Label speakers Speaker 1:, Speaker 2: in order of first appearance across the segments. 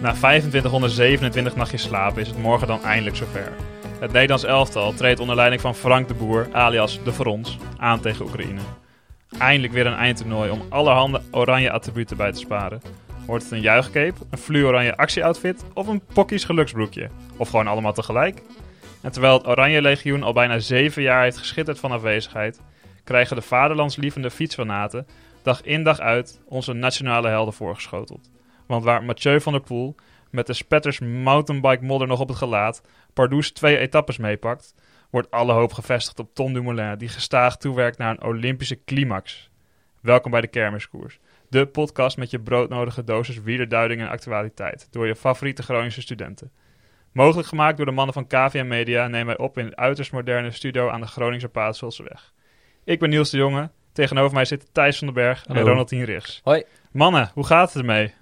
Speaker 1: Na 2527 nachtjes slapen is het morgen dan eindelijk zover. Het Nederlands elftal treedt onder leiding van Frank de Boer, alias De Frons, aan tegen Oekraïne. Eindelijk weer een eindtoernooi om allerhande oranje attributen bij te sparen. Wordt het een juichcape, een fluoranje actieoutfit of een pokkies geluksbroekje? Of gewoon allemaal tegelijk? En terwijl het Oranje Legioen al bijna zeven jaar heeft geschitterd van afwezigheid, krijgen de vaderlandslievende fietsfanaten dag in dag uit onze nationale helden voorgeschoteld. Want waar Mathieu van der Poel met de spetters mountainbike modder nog op het gelaat Pardoes twee etappes meepakt, wordt alle hoop gevestigd op Tom Dumoulin, die gestaag toewerkt naar een Olympische climax. Welkom bij de Kermiskoers, de podcast met je broodnodige dosis wielerduiding en actualiteit door je favoriete Groningse studenten. Mogelijk gemaakt door de mannen van KVM Media nemen wij op in het uiterst moderne studio aan de Groningse Paatselseweg. Ik ben Niels de Jonge, tegenover mij zitten Thijs van den Berg en
Speaker 2: Hallo.
Speaker 1: Ronald Rigs.
Speaker 3: Hoi.
Speaker 1: Mannen, hoe gaat het ermee?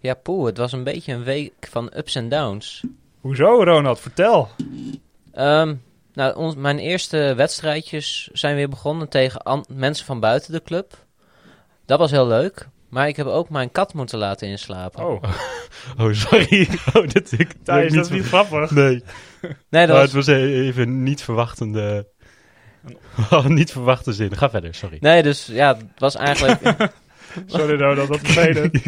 Speaker 3: Ja, poeh, het was een beetje een week van ups en downs.
Speaker 1: Hoezo Ronald, vertel!
Speaker 3: Ehm, nou, ons, mijn eerste wedstrijdjes zijn weer begonnen tegen an- mensen van buiten de club. Dat was heel leuk. Maar ik heb ook mijn kat moeten laten inslapen.
Speaker 1: Oh,
Speaker 2: Oh, sorry. Oh, dit, ik,
Speaker 1: Thijs, dat is
Speaker 2: ik
Speaker 1: niet grappig.
Speaker 2: Nee,
Speaker 3: nee, dat
Speaker 2: maar
Speaker 3: was,
Speaker 2: het was e- even niet verwachtende... Oh, niet verwachte zin. Ga verder, sorry.
Speaker 3: nee, dus ja, het was eigenlijk...
Speaker 1: Sorry Ronald, dat vervelend.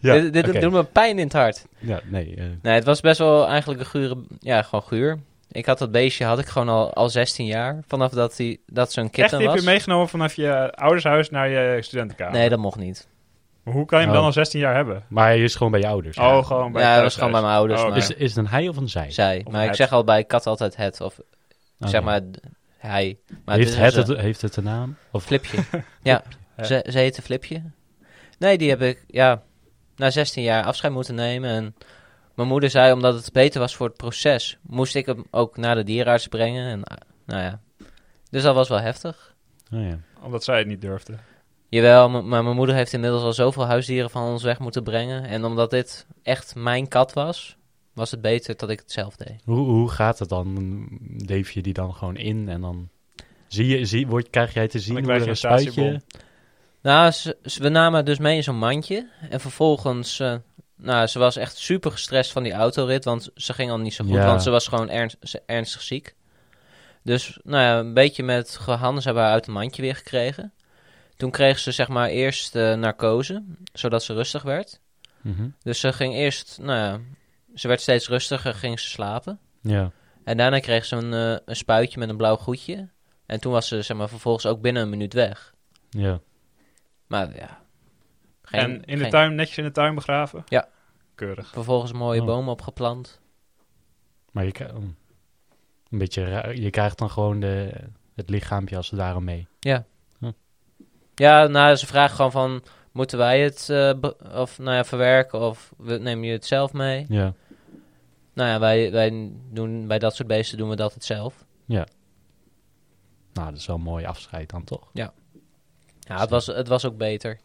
Speaker 2: Ja,
Speaker 3: dit dit
Speaker 2: oké.
Speaker 3: doet me pijn in het hart.
Speaker 2: Ja, nee. eh,
Speaker 3: Nee, het was best wel eigenlijk een gure... Ja, gewoon guur. Ik had dat beestje had ik gewoon al, al 16 jaar. Vanaf dat, die, dat zo'n
Speaker 1: Echt,
Speaker 3: kitten
Speaker 1: die heb
Speaker 3: was.
Speaker 1: je meegenomen vanaf je oudershuis naar je studentenkamer?
Speaker 3: nee, dat mocht niet.
Speaker 1: Maar hoe kan je hem dan
Speaker 2: Oh.
Speaker 1: al 16 jaar hebben?
Speaker 2: maar hij is gewoon bij je ouders.
Speaker 1: Oh, gewoon bij
Speaker 3: ja,
Speaker 1: het
Speaker 3: dat was gewoon bij
Speaker 1: thuishuis.
Speaker 3: mijn ouders.
Speaker 1: Oh,
Speaker 3: maar...
Speaker 1: oké.
Speaker 2: Is, is het een hij of een zij?
Speaker 3: Zij.
Speaker 1: Of
Speaker 3: Maar ik
Speaker 1: het.
Speaker 3: zeg al bij kat altijd het. Of
Speaker 2: Oké.
Speaker 3: zeg maar d- hij. Maar
Speaker 2: heeft,
Speaker 3: dit
Speaker 2: het,
Speaker 3: is een
Speaker 2: het- heeft het een naam? Of
Speaker 3: Flipje. ja,
Speaker 1: Ja.
Speaker 3: ze, ze heette Flipje. Nee, die heb ik ja, na 16 jaar afscheid moeten nemen. En mijn moeder zei, omdat het beter was voor het proces, moest ik hem ook naar de dierenarts brengen. En, ah, nou ja. Dus dat was wel heftig.
Speaker 2: oh, ja.
Speaker 1: Omdat zij het niet durfde.
Speaker 3: Jawel, m- maar mijn moeder heeft inmiddels al zoveel huisdieren van ons weg moeten brengen. En omdat dit echt mijn kat was, was het beter dat ik het zelf deed.
Speaker 2: hoe, hoe gaat het dan? Leef je die dan gewoon in en dan... Zie je, zie, word, krijg jij te zien
Speaker 1: Dan
Speaker 2: hoe
Speaker 1: krijg
Speaker 2: er een
Speaker 1: je een statiebon.
Speaker 2: spuitje...
Speaker 3: Nou, ze, ze- we namen haar dus mee in zo'n mandje. En vervolgens, eh, nou, ze was echt super gestrest van die autorit. Want ze ging al niet zo goed,
Speaker 2: Ja.
Speaker 3: want ze was gewoon ernst, ze- ernstig ziek. Dus, nou ja, een beetje met gehandels hebben we haar uit het mandje weer gekregen. Toen kreeg ze, zeg maar, eerst eh, narcose, zodat ze rustig werd.
Speaker 2: Mhm.
Speaker 3: Dus ze ging eerst, nou ja, ze werd steeds rustiger, ging ze slapen.
Speaker 2: Ja.
Speaker 3: En daarna kreeg ze een, eh, een spuitje met een blauw goedje. En toen was ze, zeg maar, vervolgens ook binnen een minuut weg.
Speaker 2: Ja.
Speaker 3: Maar ja... Geen,
Speaker 1: en in de
Speaker 3: geen-
Speaker 1: tuin, netjes in de tuin begraven?
Speaker 3: Ja.
Speaker 1: Keurig.
Speaker 3: Vervolgens een mooie
Speaker 2: Oh.
Speaker 3: boom opgeplant.
Speaker 2: Maar je, kri- een beetje raar- je krijgt dan gewoon de, het lichaampje als het daarom mee.
Speaker 3: Ja, nou, ze vragen gewoon van... Moeten wij het eh, be- of, nou ja, verwerken of we- neem je het zelf mee?
Speaker 2: Ja.
Speaker 3: Nou ja, wij, wij doen, bij dat soort beesten doen we dat het zelf.
Speaker 2: Nou, dat is wel een mooi afscheid dan toch?
Speaker 3: Ja, het was, het was ook beter.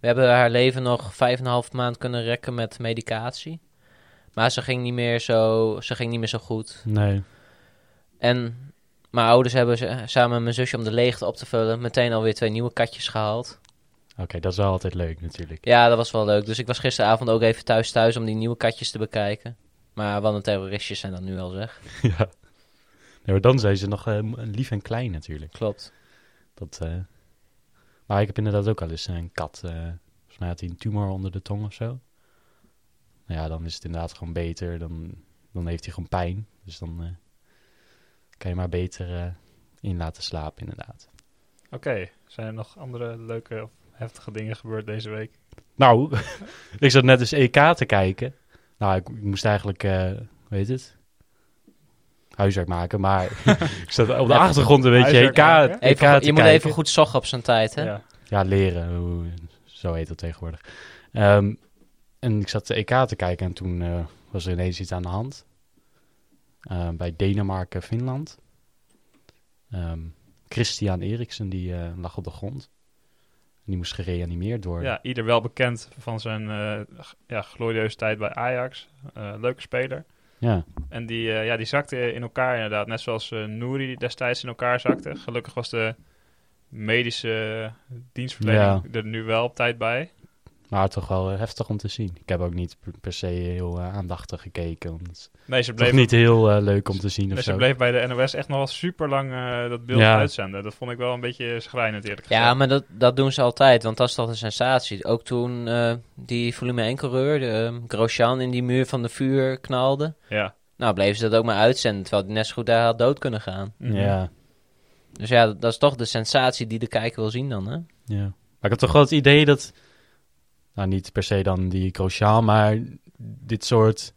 Speaker 3: We hebben haar leven nog vijf en een half maand kunnen rekken met medicatie. Maar ze ging niet meer zo, ze ging niet meer zo goed.
Speaker 2: Nee.
Speaker 3: En mijn ouders hebben ze- samen met mijn zusje om de leegte op te vullen... meteen alweer twee nieuwe katjes gehaald.
Speaker 2: Oké, dat is wel altijd leuk natuurlijk.
Speaker 3: Ja, dat was wel leuk. Dus ik was gisteravond ook even thuis thuis om die nieuwe katjes te bekijken. Maar wat een terroristjes zijn dat nu al zeg.
Speaker 2: ja. Nee, maar dan zijn ze nog eh, m- lief en klein natuurlijk.
Speaker 3: Klopt.
Speaker 2: Dat, eh, Maar ik heb inderdaad ook al eens een kat. eh volgens mij had hij een tumor onder de tong of zo. Nou ja, dan is het inderdaad gewoon beter. Dan, dan heeft hij gewoon pijn. Dus dan eh, kan je maar beter eh, in laten slapen inderdaad.
Speaker 1: Oké, zijn er nog andere leuke of heftige dingen gebeurd deze week?
Speaker 2: Nou, ik zat net eens EK te kijken. Nou, ik, ik moest eigenlijk, eh weet het, huiswerk maken. Maar ik zat op de
Speaker 3: Ja,
Speaker 2: achtergrond een beetje
Speaker 1: huiswerk
Speaker 2: EK,
Speaker 1: maken.
Speaker 2: EK te
Speaker 3: Even, je moet
Speaker 2: kijken.
Speaker 3: even goed zoggen op zijn tijd, hè?
Speaker 1: Ja.
Speaker 2: Ja, leren. hoe- Zo heet dat tegenwoordig. Ehm, en ik zat de EK te kijken en toen eh, was er ineens iets aan de hand. Ehm, bij Denemarken, Finland. Ehm, Christian Eriksen die eh, lag op de grond. Die moest gereanimeerd worden.
Speaker 1: Ja, ieder wel bekend van zijn eh, g- ja, glorieuze tijd bij Ajax. Eh, leuke speler.
Speaker 2: Ja.
Speaker 1: En die, eh, ja, die zakte in elkaar inderdaad. Net zoals eh Nouri destijds in elkaar zakte. Gelukkig was de medische dienstverlening er nu wel op tijd bij.
Speaker 2: Maar toch wel eh, heftig om te zien. Ik heb ook niet per- per se heel eh, aandachtig gekeken. Omdat het
Speaker 1: Nee, ze
Speaker 2: toch
Speaker 1: bleef,
Speaker 2: niet heel eh, leuk om te zien of
Speaker 1: nee, ze
Speaker 2: zo.
Speaker 1: bleef bij de NOS echt nog wel super lang eh, dat beeld
Speaker 2: Ja.
Speaker 1: uitzenden. Dat vond ik wel een beetje schrijnend eerlijk gezegd.
Speaker 3: Ja, maar dat, dat doen ze altijd, want dat is toch een sensatie. Ook toen eh, die volume 1 coureur, de, ehm, Grosjean, in die muur van de vuur knalde.
Speaker 1: Ja.
Speaker 3: Nou, bleven ze dat ook maar uitzenden, terwijl die net zo goed daar had dood kunnen gaan.
Speaker 1: Mhm.
Speaker 2: Ja,
Speaker 3: Dus ja, dat, dat is toch de sensatie die de kijker wil zien dan, hè?
Speaker 2: ja. Maar ik heb toch wel het idee dat... Nou, niet per se dan die Grosjean, maar dit soort...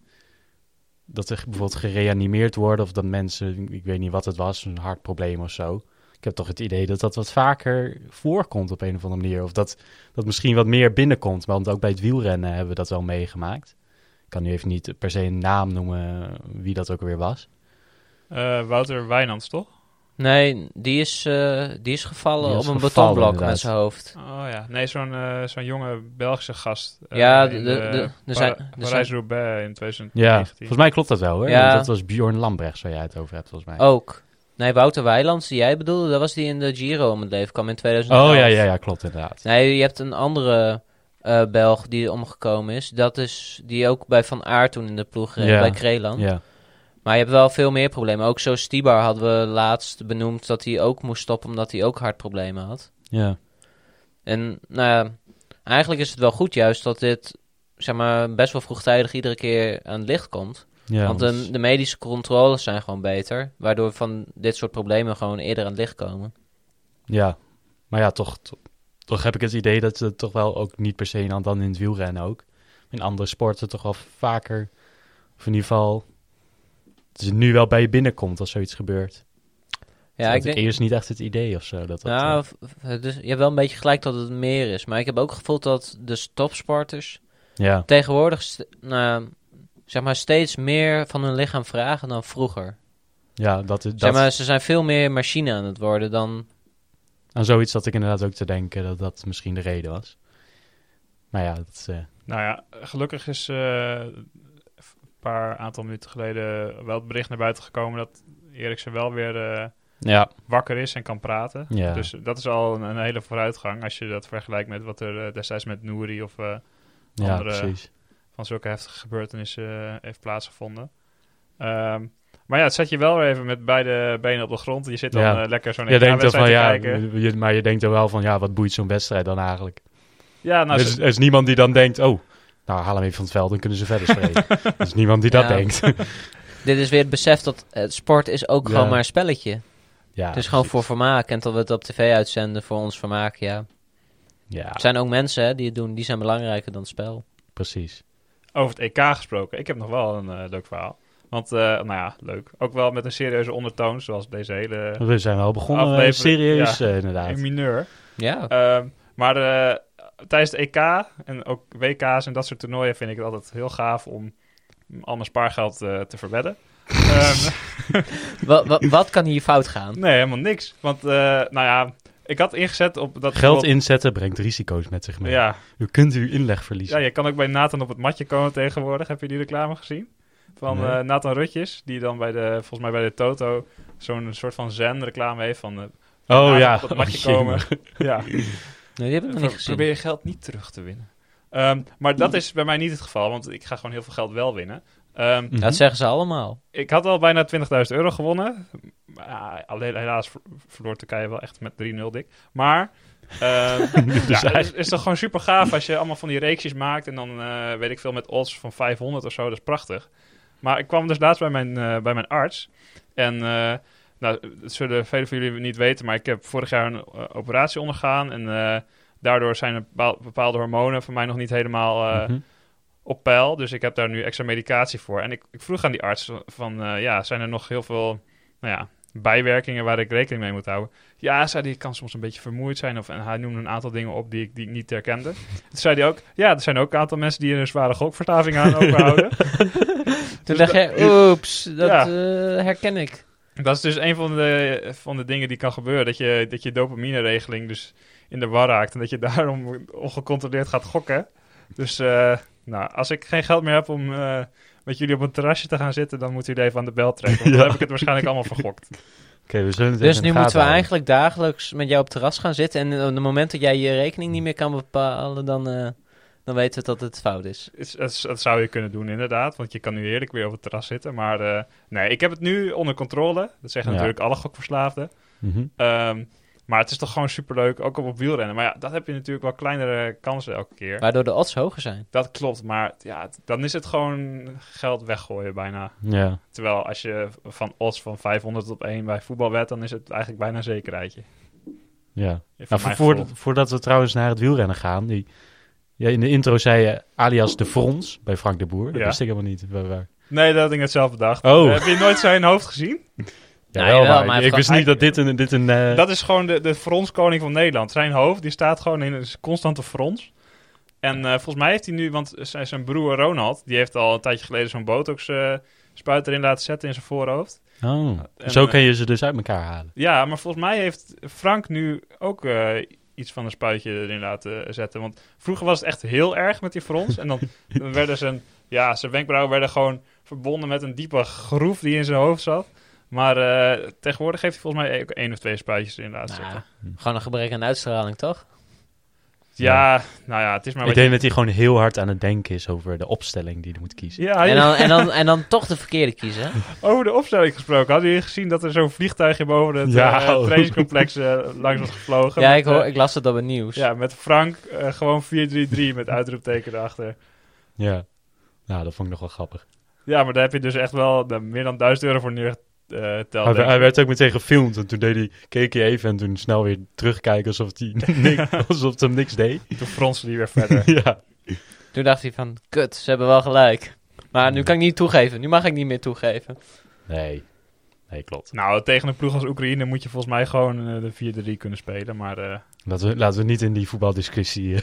Speaker 2: Dat er bijvoorbeeld gereanimeerd worden of dat mensen... Ik weet niet wat het was, een hartprobleem of zo. Ik heb toch het idee dat dat wat vaker voorkomt op een of andere manier. Of dat dat misschien wat meer binnenkomt. Want ook bij het wielrennen hebben we dat wel meegemaakt. Ik kan nu even niet per se een naam noemen wie dat ook weer was.
Speaker 1: Eh, Wouter Wijnands, toch?
Speaker 3: Nee, die is, eh, die is gevallen
Speaker 2: Die is
Speaker 3: op een
Speaker 2: gevallen,
Speaker 3: betonblok
Speaker 2: inderdaad.
Speaker 3: met zijn hoofd.
Speaker 1: Oh ja, nee, zo'n eh, zo'n jonge Belgische gast. eh,
Speaker 3: Ja,
Speaker 1: in
Speaker 3: de- de- de- er
Speaker 1: Para-
Speaker 3: zijn- er
Speaker 1: Parijs-Roubaix in
Speaker 2: Ja,
Speaker 1: 2019.
Speaker 2: volgens mij klopt dat wel hoor.
Speaker 3: Ja. Oh.
Speaker 2: Want Dat was Bjorn Lambrecht waar jij het over hebt volgens mij.
Speaker 3: Ook. Nee, Wouter Weilands, die jij bedoelde, dat was die in de Giro om het leven kwam in 2011.
Speaker 2: oh ja, ja, ja, klopt inderdaad.
Speaker 3: Nee, je hebt een andere eh, Belg die omgekomen is. Dat is die ook bij Van Aert toen in de ploeg reed,
Speaker 2: Ja.
Speaker 3: bij Krelan.
Speaker 2: Ja,
Speaker 3: Maar je hebt wel veel meer problemen. Ook zo Stibar hadden we laatst benoemd dat hij ook moest stoppen omdat hij ook hartproblemen had.
Speaker 2: ja,
Speaker 3: En nou ja, eigenlijk is het wel goed juist dat dit zeg maar, best wel vroegtijdig iedere keer aan het licht komt.
Speaker 2: ja.
Speaker 3: Want de, de medische controles zijn gewoon beter. Waardoor van dit soort problemen gewoon eerder aan het licht komen.
Speaker 2: Ja, maar ja, toch, to- toch heb ik het idee dat het toch wel ook niet per se in- dan in het wielrennen ook. In andere sporten toch wel vaker, of in ieder geval, dat het nu wel bij je binnenkomt als zoiets gebeurt.
Speaker 3: Ja, ik denk,
Speaker 2: eerst niet echt het idee of zo. Dat dat,
Speaker 3: Nou,
Speaker 2: eh,
Speaker 3: v- v- dus je hebt wel een beetje gelijk dat het meer is. Maar ik heb ook gevoeld dat de topsporters
Speaker 2: ja,
Speaker 3: tegenwoordig st- nou, zeg maar steeds meer van hun lichaam vragen dan vroeger.
Speaker 2: ja, dat is dat,
Speaker 3: Zeg maar, ze zijn veel meer machine aan het worden dan...
Speaker 2: aan zoiets dat ik inderdaad ook te denken dat dat misschien de reden was. Maar ja, dat, eh,
Speaker 1: Nou ja, gelukkig is eh, een paar aantal minuten geleden wel het bericht naar buiten gekomen dat Eriksen wel weer eh,
Speaker 2: ja,
Speaker 1: wakker is en kan praten.
Speaker 2: ja,
Speaker 1: Dus dat is al een, een hele vooruitgang als je dat vergelijkt met wat er eh, destijds met Nouri of eh,
Speaker 2: ja
Speaker 1: andere-
Speaker 2: precies.
Speaker 1: van zulke heftige gebeurtenissen eh, heeft plaatsgevonden. Ehm, maar ja, het zet je wel weer even met beide benen op de grond. Je zit dan
Speaker 2: Ja.
Speaker 1: eh, lekker zo'n
Speaker 2: Je denkt dan
Speaker 1: EK-wedstrijd
Speaker 2: van
Speaker 1: te
Speaker 2: ja,
Speaker 1: kijken.
Speaker 2: je- maar je denkt dan wel van ja, wat boeit zo'n wedstrijd dan eigenlijk?
Speaker 1: Ja, nou,
Speaker 2: er, is, er is niemand die dan denkt, oh, nou haal hem even van het veld, dan kunnen ze verder spelen. er is niemand die dat
Speaker 3: Ja.
Speaker 2: denkt.
Speaker 3: Dit is weer het besef dat het sport is ook
Speaker 2: Ja.
Speaker 3: gewoon maar een spelletje.
Speaker 2: ja,
Speaker 3: het is gewoon voor vermaak. En dat we het op tv uitzenden voor ons vermaak, ja.
Speaker 2: Ja,
Speaker 3: Er zijn ook mensen hè, die het doen, die zijn belangrijker dan het spel.
Speaker 2: precies.
Speaker 1: Over het EK gesproken. Ik heb nog wel een eh, leuk verhaal. Want, eh, nou ja, leuk. Ook wel met een serieuze ondertoon, zoals deze hele
Speaker 2: We zijn wel begonnen, eh,
Speaker 1: Aflevering-
Speaker 2: serieus
Speaker 1: ja.
Speaker 2: eh,
Speaker 1: eh,
Speaker 2: inderdaad.
Speaker 1: mineur.
Speaker 3: Ja.
Speaker 1: Ehm, maar eh, tijdens het EK en ook WK's en dat soort toernooien vind ik het altijd heel gaaf om al mijn spaargeld eh, te verwedden. Ehm,
Speaker 3: Wa- wa- wat kan hier fout gaan?
Speaker 1: nee, helemaal niks. Want, eh, nou ja, ik had ingezet op dat...
Speaker 2: Geld inzetten brengt risico's met zich mee.
Speaker 1: Ja,
Speaker 2: U kunt uw inleg
Speaker 1: ja,
Speaker 2: verliezen.
Speaker 1: je kan ook bij Nathan op het matje komen tegenwoordig. Heb je die reclame gezien? Van
Speaker 2: Nee.
Speaker 1: eh, Nathan Rutjes, die dan bij de, volgens mij bij de Toto zo'n soort van zen-reclame heeft van... eh,
Speaker 2: Oh
Speaker 1: Nathan
Speaker 2: ja,
Speaker 1: op het matje
Speaker 2: Oh, jee,
Speaker 1: komen.
Speaker 2: maar.
Speaker 1: ja.
Speaker 3: Nee, die heb ik nog niet
Speaker 1: Pro-
Speaker 3: gezien.
Speaker 1: probeer je geld niet terug te winnen. Ehm, maar dat is bij mij niet het geval, want ik ga gewoon heel veel geld wel winnen. Ehm,
Speaker 2: Mhm.
Speaker 3: Dat zeggen ze allemaal.
Speaker 1: Ik had al bijna 20.000 euro gewonnen. Maar, ah, alleen helaas ver- verloor Turkije wel echt met 3-0 dik. Maar ehm, ja, het is, is toch gewoon super gaaf als je allemaal van die reeksjes maakt. En dan eh, weet ik veel met odds van 500 of zo. Dat is prachtig. Maar ik kwam dus laatst bij mijn, eh, bij mijn arts. En eh, nou, dat zullen velen van jullie niet weten. Maar ik heb vorig jaar een eh, operatie ondergaan. En eh, daardoor zijn er bepaal- bepaalde hormonen van mij nog niet helemaal... eh,
Speaker 2: Mhm.
Speaker 1: op peil. Dus ik heb daar nu extra medicatie voor. En ik, ik vroeg aan die arts van, eh, ja, zijn er nog heel veel nou ja, bijwerkingen waar ik rekening mee moet houden? Ja, zei hij, ik kan soms een beetje vermoeid zijn. Of, en hij noemde een aantal dingen op die ik, die ik niet herkende. Toen zei hij ook, ja, er zijn ook een aantal mensen die er een zware gokverstaving aan overhouden.
Speaker 3: Toen dacht je, oeps, dat
Speaker 1: Dus Ja.
Speaker 3: eh, herken ik.
Speaker 1: Dat is dus een van de, van de dingen die kan gebeuren. Dat je, dat je dopamineregeling dus in de war raakt. En dat je daarom ongecontroleerd gaat gokken. Dus eh, nou, als ik geen geld meer heb om eh, met jullie op een terrasje te gaan zitten, dan moeten jullie even aan de bel trekken. Want
Speaker 2: Ja.
Speaker 1: dan heb ik het waarschijnlijk allemaal vergokt.
Speaker 2: we zullen het even in
Speaker 3: Dus
Speaker 2: de
Speaker 3: nu
Speaker 2: gaten
Speaker 3: moeten we
Speaker 2: houden.
Speaker 3: eigenlijk dagelijks met jou op het terras gaan zitten. En op het moment dat jij je rekening niet meer kan bepalen, dan, eh, dan weten we dat het fout is.
Speaker 1: Het is- het is- Dat zou je kunnen doen, inderdaad. Want je kan nu heerlijk weer op het terras zitten. Maar eh, nee, ik heb het nu onder controle. Dat zeggen
Speaker 2: Ja.
Speaker 1: natuurlijk alle gokverslaafden.
Speaker 2: Mhm.
Speaker 1: Ehm, maar het is toch gewoon superleuk, ook op, op wielrennen. Maar ja, dat heb je natuurlijk wel kleinere kansen elke keer.
Speaker 3: Waardoor de odds hoger zijn.
Speaker 1: Dat klopt, maar ja, t- dan is het gewoon geld weggooien bijna.
Speaker 2: Ja,
Speaker 1: Terwijl als je van odds van 500 op 1 bij voetbal wedt, dan is het eigenlijk bijna een zekerheidje.
Speaker 2: ja.
Speaker 1: Voor mijn
Speaker 2: Nou, voor, voor-
Speaker 1: gevoel.
Speaker 2: voordat we trouwens naar het wielrennen gaan. Die, ja, in de intro zei je alias de Frons bij Frank de Boer. Dat
Speaker 1: Ja.
Speaker 2: wist ik helemaal niet. Waar, waar.
Speaker 1: Nee, dat had ik net zelf bedacht.
Speaker 2: Oh.
Speaker 1: Heb je nooit zijn hoofd gezien?
Speaker 3: Nou, jawel, maar hij
Speaker 2: ik
Speaker 3: heeft
Speaker 2: wist
Speaker 1: gewoon-
Speaker 2: niet dat dit een... Dit een eh,
Speaker 1: Dat is gewoon de, de fronskoning van Nederland. Zijn hoofd, die staat gewoon in een constante frons. En eh, volgens mij heeft hij nu, want zijn, zijn broer Ronald, die heeft al een tijdje geleden zo'n botox eh, spuit erin laten zetten in zijn voorhoofd.
Speaker 2: oh.
Speaker 1: En,
Speaker 2: Zo
Speaker 1: eh,
Speaker 2: kun je ze dus uit elkaar halen.
Speaker 1: Ja, maar volgens mij heeft Frank nu ook eh, iets van een spuitje erin laten zetten. Want vroeger was het echt heel erg met die frons. en dan, dan werden zijn, ja, zijn wenkbrauwen werden gewoon verbonden met een diepe groef die in zijn hoofd zat. Maar eh, tegenwoordig heeft hij volgens mij ook één of twee spuitjes erin laten
Speaker 3: Nou,
Speaker 1: zetten.
Speaker 3: gewoon een gebrek aan uitstraling, toch?
Speaker 1: Ja, nou ja, het is maar
Speaker 2: ik
Speaker 1: wat je-
Speaker 2: denk dat hij gewoon heel hard aan het denken is over de opstelling die hij moet kiezen.
Speaker 1: Ah, Ja,
Speaker 3: En
Speaker 1: je-
Speaker 3: dan, en, dan, en dan toch de verkeerde kiezen.
Speaker 1: over de opstelling gesproken. Hadden jullie gezien dat er zo'n vliegtuigje boven het
Speaker 2: Ja,
Speaker 1: eh,
Speaker 2: oh.
Speaker 1: trainingscomplex eh, langs was gevlogen?
Speaker 3: Ja,
Speaker 1: Met,
Speaker 3: ik, hoor,
Speaker 1: eh,
Speaker 3: ik las het op het nieuws.
Speaker 1: ja, met Frank eh, gewoon 4-3-3 met uitroepteken erachter.
Speaker 2: Ja. Nou, dat vond ik nog wel grappig.
Speaker 1: Ja, maar daar heb je dus echt wel eh, meer dan 1000 euro voor neergeteld.
Speaker 2: Hij,
Speaker 1: denk ik.
Speaker 2: hij werd ook meteen gefilmd en toen deed hij, keek hij even en toen snel weer terugkijken alsof, hij niks, alsof het hem niks deed.
Speaker 1: Toen fronste hij weer verder.
Speaker 2: ja.
Speaker 3: Toen dacht hij van, kut, ze hebben wel gelijk. Maar nu kan ik niet toegeven. Nu mag ik niet meer toegeven.
Speaker 2: Nee. Nee, klopt.
Speaker 1: nou, tegen een ploeg als Oekraïne moet je volgens mij gewoon eh, de 4-3 kunnen spelen. Maar eh,
Speaker 2: Laten we, laten we niet in die voetbaldiscussie. eh.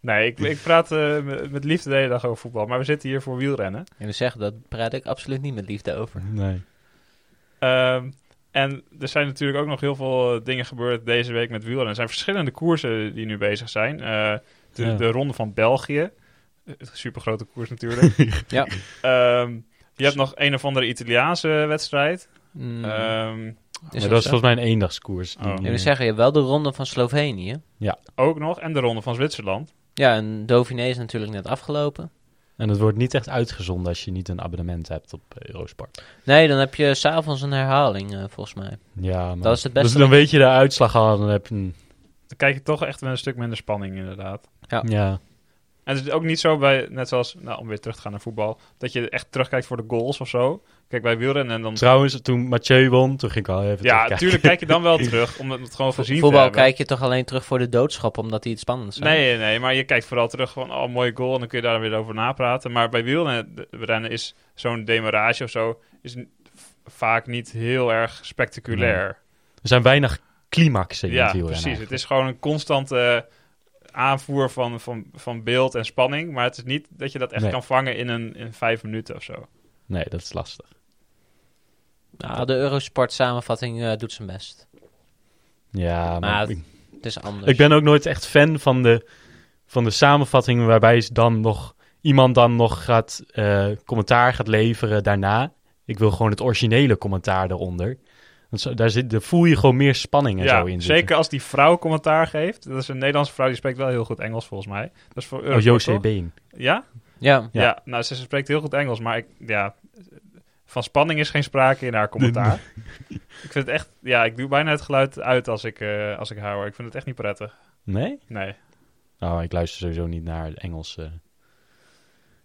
Speaker 1: nee, ik, ik praat eh, met, met liefde de hele dag over voetbal. Maar we zitten hier voor wielrennen.
Speaker 3: En we zeggen, dat praat ik absoluut niet met liefde over.
Speaker 2: nee.
Speaker 1: Ehm, en er zijn natuurlijk ook nog heel veel eh, dingen gebeurd deze week met wielrennen. Er zijn verschillende koersen die nu bezig zijn. Eh, de,
Speaker 2: Ja.
Speaker 1: de Ronde van België. Super grote koers natuurlijk.
Speaker 3: Ja.
Speaker 1: Ehm, je hebt nog een of andere Italiaanse wedstrijd.
Speaker 3: Mm,
Speaker 1: Ehm,
Speaker 3: is
Speaker 2: Maar
Speaker 3: dat
Speaker 2: dat is
Speaker 3: zo?
Speaker 2: volgens mij een eendagskoers.
Speaker 1: Oh.
Speaker 3: En we zeggen, je hebt wel de ronde van Slovenië.
Speaker 1: ook nog. En de Ronde van Zwitserland.
Speaker 3: Ja, en Dauphiné is natuurlijk net afgelopen.
Speaker 2: En het wordt niet echt uitgezonden als je niet een abonnement hebt op eh, Eurosport.
Speaker 3: Nee, dan heb je s'avonds een herhaling, eh, volgens mij.
Speaker 2: Ja, maar...
Speaker 3: Dat is het beste.
Speaker 2: Dus dan weet je de uitslag al en dan heb je... een-
Speaker 1: Dan kijk je toch echt wel een stuk minder spanning, inderdaad.
Speaker 3: Ja.
Speaker 2: Ja.
Speaker 1: En het is ook niet zo bij, net zoals, nou, om weer terug te gaan naar voetbal, dat je echt terugkijkt voor de goals of zo. Kijk bij wielrennen en dan.
Speaker 2: Trouwens, toen Mathieu won, toen ging ik al
Speaker 1: Hm.
Speaker 2: even
Speaker 1: ja,
Speaker 2: terugkijken.
Speaker 1: natuurlijk kijk je dan wel terug, om het gewoon
Speaker 3: Vo-
Speaker 1: gezien te
Speaker 3: Voetbal
Speaker 1: hebben.
Speaker 3: kijk je toch alleen terug voor de doodschap, omdat die het spannend zijn.
Speaker 1: Nee, nee, maar je kijkt vooral terug van, oh, mooie goal, en dan kun je daar weer over napraten. Maar bij wielrennen is zo'n demarage of zo, is n- vaak niet heel erg spectaculair.
Speaker 2: Er zijn weinig climaxen in
Speaker 1: ja,
Speaker 2: het wielrennen.
Speaker 1: precies. Het is gewoon een constante eh, aanvoer van, van, van beeld en spanning, maar het is niet dat je dat echt
Speaker 2: Nee.
Speaker 1: kan vangen in, een, in vijf minuten of zo.
Speaker 2: Nee, dat is lastig.
Speaker 3: Nou, de Eurosport samenvatting eh, doet zijn best.
Speaker 2: Ja, maar...
Speaker 3: Maar-
Speaker 2: ik,
Speaker 3: Het is anders.
Speaker 2: ik ben ook nooit echt fan van de, van de samenvattingen waarbij ze dan nog, iemand dan nog gaat eh, commentaar gaat leveren daarna. Ik wil gewoon het originele commentaar eronder. Want zo, daar, zit, daar voel je gewoon meer spanning en zo in zitten.
Speaker 1: Zeker als die vrouw commentaar geeft. Dat is een Nederlandse vrouw, die spreekt wel heel goed Engels volgens mij. Dat is voor
Speaker 2: Oh,
Speaker 1: Eurosport,
Speaker 2: José
Speaker 1: toch?
Speaker 2: Been.
Speaker 1: Ja?
Speaker 3: Ja,
Speaker 1: ja?
Speaker 2: Ja.
Speaker 1: nou ze spreekt heel goed Engels, maar ik, ja, van spanning is geen sprake in haar commentaar. ik vind het echt, ja, ik doe bijna het geluid uit als ik, eh, als ik haar hoor. Ik vind het echt niet prettig.
Speaker 2: Nee?
Speaker 1: Nee.
Speaker 2: Oh, ik luister sowieso niet naar Engelse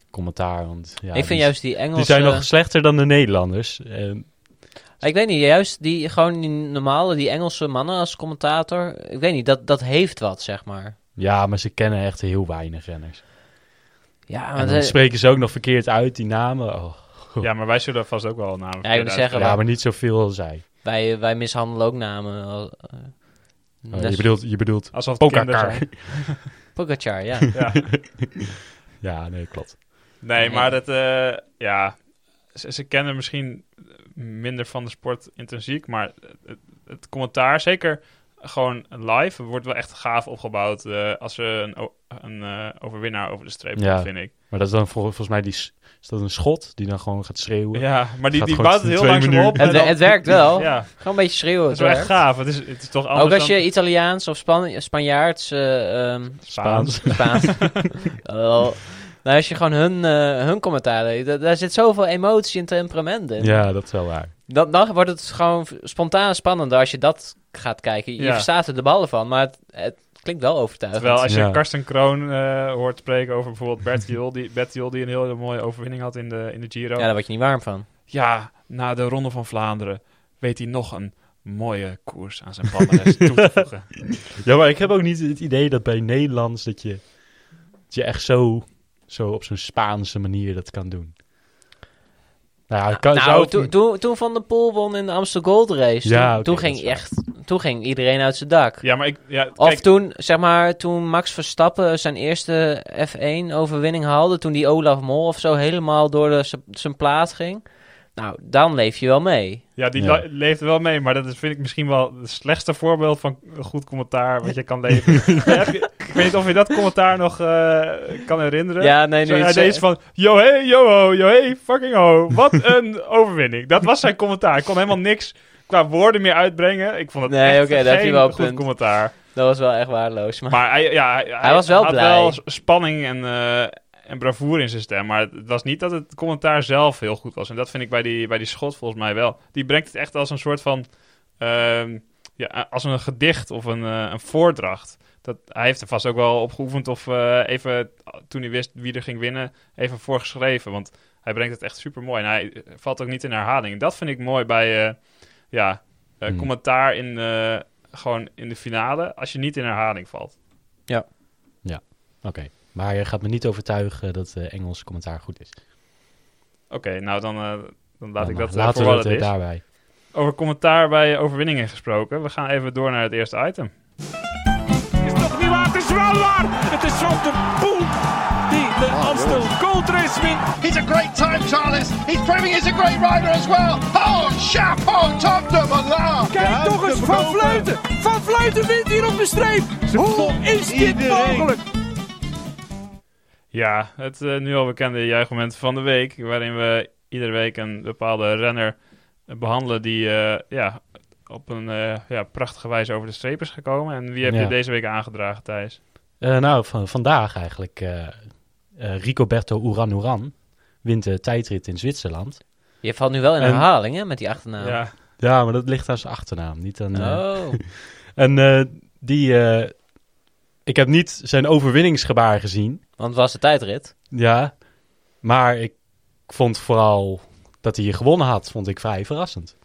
Speaker 2: commentaar. Want, ja,
Speaker 3: ik vind
Speaker 2: die,
Speaker 3: juist die Engelse...
Speaker 2: Die zijn nog slechter dan de Nederlanders. Eh,
Speaker 3: Ah, Ik weet niet, juist die, gewoon die normale, die Engelse mannen als commentator. Ik weet niet, dat, dat heeft wat, zeg maar.
Speaker 2: ja, maar ze kennen echt heel weinig renners.
Speaker 3: Ja,
Speaker 2: en
Speaker 3: maar
Speaker 2: dan
Speaker 3: dat-
Speaker 2: spreken ze ook nog verkeerd uit, die namen. Oh,
Speaker 1: Ja, maar wij zullen vast ook wel namen.
Speaker 3: Ja, ik
Speaker 1: kunnen
Speaker 3: wil zeggen,
Speaker 1: uitspreken.
Speaker 2: ja, maar niet zoveel als zij.
Speaker 3: wij, wij mishandelen ook namen. eh,
Speaker 2: Oh,
Speaker 3: net-
Speaker 2: je, bedoelt, je bedoelt...
Speaker 1: Alsof het kinderen
Speaker 2: Pokakar.
Speaker 1: zijn.
Speaker 3: Pogacar, ja.
Speaker 1: Ja.
Speaker 2: Ja, nee, klopt.
Speaker 1: Nee,
Speaker 3: Nee.
Speaker 1: maar dat, eh, ja, ze, ze kennen misschien minder van de sport intrinsiek, maar het, het commentaar, zeker gewoon live wordt wel echt gaaf opgebouwd eh, als ze een, o- een eh, overwinnaar over de streep
Speaker 2: Ja.
Speaker 1: ja. vind ik.
Speaker 2: Maar dat is dan vol- volgens mij die, s- is dat een schot die dan gewoon gaat schreeuwen.
Speaker 1: Ja, maar die,
Speaker 2: Gaat
Speaker 1: die
Speaker 2: gewoon
Speaker 1: bouwt het heel
Speaker 2: twee
Speaker 1: langzaam
Speaker 2: minuten.
Speaker 1: op. en
Speaker 3: Het,
Speaker 1: dan-
Speaker 3: het werkt wel.
Speaker 1: Ja,
Speaker 3: Gewoon een beetje schreeuwen.
Speaker 1: dat is wel
Speaker 3: het
Speaker 1: echt
Speaker 3: werkt.
Speaker 1: gaaf. Het is, het is toch anders
Speaker 3: Ook als je
Speaker 1: dan
Speaker 3: Italiaans of Span Spanjaards... eh, ehm,
Speaker 1: Spaans.
Speaker 3: Spaans. oh. Nou, als je gewoon hun, eh, hun commentaar leest, da- daar zit zoveel emotie en temperament in.
Speaker 2: Ja, dat is wel waar.
Speaker 3: Dan, dan wordt het gewoon v- spontaan spannender als je dat gaat kijken. Je
Speaker 1: Ja.
Speaker 3: verstaat er de ballen van, maar het, het klinkt wel overtuigend.
Speaker 1: Terwijl als je
Speaker 2: Ja.
Speaker 1: Karsten Kroon eh, hoort spreken over bijvoorbeeld Bertiol, die, Bertiol die een hele mooie overwinning had in de, in de Giro.
Speaker 3: Ja, daar
Speaker 1: Ja,
Speaker 3: word je niet warm van.
Speaker 1: na de Ronde van Vlaanderen weet hij nog een mooie koers aan zijn palmarès toe te voegen.
Speaker 2: Ja, maar ik heb ook niet het idee dat bij Nederlands dat je, dat je echt zo, zo op zo'n Spaanse manier dat kan doen. Nou, ja, het kan, zou
Speaker 3: nou,
Speaker 2: het
Speaker 3: toen
Speaker 2: niet-
Speaker 3: toen- toen Van der Poel won in de Amstel Gold Race,
Speaker 2: Ja,
Speaker 3: toen,
Speaker 2: oké,
Speaker 3: toen
Speaker 2: dat
Speaker 3: ging
Speaker 2: is waar.
Speaker 3: echt, toen ging iedereen uit zijn dak.
Speaker 1: Ja, maar ik... Ja,
Speaker 3: Of
Speaker 1: kijk,
Speaker 3: toen, zeg maar, toen Max Verstappen zijn eerste F1-overwinning haalde, toen die Olaf Mol of zo helemaal door de, z- zijn plaat ging. Nou, dan leef je wel mee.
Speaker 1: ja die
Speaker 2: Ja.
Speaker 1: le- leeft wel mee, maar dat is, vind ik misschien wel het slechtste voorbeeld van goed commentaar wat je kan leveren. Ja, heb je- ik weet niet of je dat commentaar nog eh, kan herinneren.
Speaker 3: Ja, nee, nu
Speaker 1: Zo,
Speaker 3: je
Speaker 1: hij
Speaker 3: het
Speaker 1: deed
Speaker 3: zegt.
Speaker 1: van, yo hey, yo ho, yo hey, fucking ho. Wat een overwinning. Dat was zijn commentaar. Hij kon helemaal niks qua woorden meer uitbrengen. Ik vond het
Speaker 3: Nee,
Speaker 1: echt
Speaker 3: oké, daar
Speaker 1: geen
Speaker 3: heb je wel een
Speaker 1: goed
Speaker 3: punt.
Speaker 1: commentaar.
Speaker 3: Dat was wel echt waardeloos. Maar,
Speaker 1: Maar hij, ja, hij, hij
Speaker 3: was wel
Speaker 1: had
Speaker 3: blij.
Speaker 1: wel s- spanning en, eh en bravoure in zijn stem. Maar het was niet dat het commentaar zelf heel goed was. En dat vind ik bij die, bij die schot volgens mij wel. Die brengt het echt als een soort van... ehm, ja, als een gedicht of een, eh, een voordracht. Dat, hij heeft er vast ook wel op geoefend of eh, even, toen hij wist wie er ging winnen, even voorgeschreven. Want hij brengt het echt super mooi. En hij eh, valt ook niet in herhaling. En dat vind ik mooi bij eh, ja, eh,
Speaker 2: Hmm.
Speaker 1: commentaar in, eh, gewoon in de finale. Als je niet in herhaling valt.
Speaker 2: Oké, maar je gaat me niet overtuigen dat eh Engels commentaar goed is.
Speaker 1: Oké, nou dan, eh, dan laat
Speaker 2: Ja,
Speaker 1: ik
Speaker 2: maar
Speaker 1: dat eh,
Speaker 2: laten
Speaker 1: voor
Speaker 2: we
Speaker 1: wat
Speaker 2: het
Speaker 1: het
Speaker 2: eh,
Speaker 1: is.
Speaker 2: daarbij.
Speaker 1: Over commentaar bij overwinningen gesproken. We gaan even door naar het eerste item.
Speaker 4: is toch niet waar? Het is wel waar! Het is Van de Poel die de Amstel Gold Race wint.
Speaker 5: He's a great time, Charles. He's proving he's a great rider as well. Oh, chapeau, top de malade.
Speaker 4: Kijk toch eens, Van Vleuten! Van Vleuten wint hier op de streep! Hoe is dit mogelijk?
Speaker 1: Ja, het eh, nu al bekende juichmoment van de week, waarin we iedere week een bepaalde renner eh, behandelen die eh, ja, op een eh, ja, prachtige wijze over de streep is gekomen. En wie heb je
Speaker 2: Ja.
Speaker 1: deze week aangedragen, Thijs?
Speaker 2: Eh, nou, van, vandaag eigenlijk. eh eh Ricoberto Uran wint de tijdrit in Zwitserland.
Speaker 3: je valt nu wel in
Speaker 2: En-
Speaker 3: herhaling, hè, met die achternaam.
Speaker 1: Ja,
Speaker 2: Ja, maar dat ligt aan zijn achternaam, niet aan... eh,
Speaker 3: Oh,
Speaker 2: En eh, die... eh, ik heb niet zijn overwinningsgebaar gezien,
Speaker 3: want het was de tijdrit.
Speaker 2: ja. Maar ik vond vooral dat hij hier gewonnen had, vond ik vrij verrassend.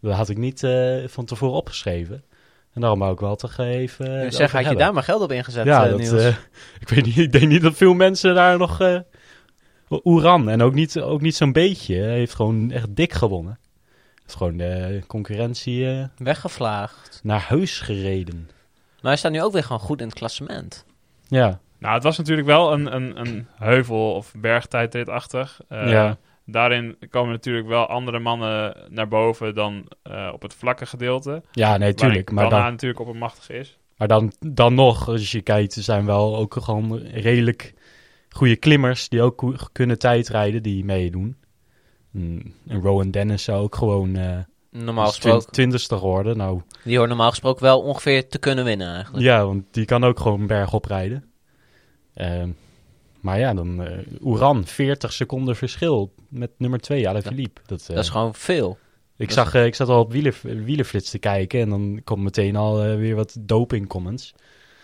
Speaker 2: Dat had ik niet eh, van tevoren opgeschreven. En daarom wou ik wel toch even...
Speaker 3: zeg,
Speaker 2: eh, over
Speaker 3: had je
Speaker 2: hebben.
Speaker 3: daar maar geld op ingezet,
Speaker 2: Ja,
Speaker 3: eh,
Speaker 2: dat,
Speaker 3: Niels?
Speaker 2: eh, ik weet niet. Ik denk niet dat veel mensen daar nog eh Oeran en ook niet, ook niet zo'n beetje. Hij heeft gewoon echt dik gewonnen. Heeft gewoon de concurrentie eh,
Speaker 3: Weggevlaagd.
Speaker 2: naar huis gereden.
Speaker 3: Maar hij staat nu ook weer gewoon goed in het klassement.
Speaker 2: Ja,
Speaker 1: nou het was natuurlijk wel een, een, een heuvel- of bergtijdritachtig. Eh,
Speaker 2: Ja.
Speaker 1: Daarin komen natuurlijk wel andere mannen naar boven dan eh, op het vlakke gedeelte.
Speaker 2: ja nee, tuurlijk.
Speaker 1: Maar
Speaker 2: Maar
Speaker 1: dan
Speaker 2: dan,
Speaker 1: natuurlijk oppermachtig is.
Speaker 2: maar dan, dan nog, als je kijkt, er zijn wel ook gewoon redelijk goede klimmers die ook ko- kunnen tijdrijden, die meedoen. Mm, En Rowan Dennis zou ook gewoon eh
Speaker 3: Normaal
Speaker 2: als twin-
Speaker 3: gesproken.
Speaker 2: twintigste worden. Nou,
Speaker 3: Die hoort normaal gesproken wel ongeveer te kunnen winnen, eigenlijk.
Speaker 2: Ja, want die kan ook gewoon bergop rijden. Ehm, maar ja, dan eh Oeran, 40 seconden verschil met nummer 2, Alaphilippe. Dat, eh,
Speaker 3: Dat is gewoon veel.
Speaker 2: ik,
Speaker 3: dat
Speaker 2: zag, eh, ik zat al op wieler, wielerflits te kijken en dan komt meteen al eh, weer wat doping comments.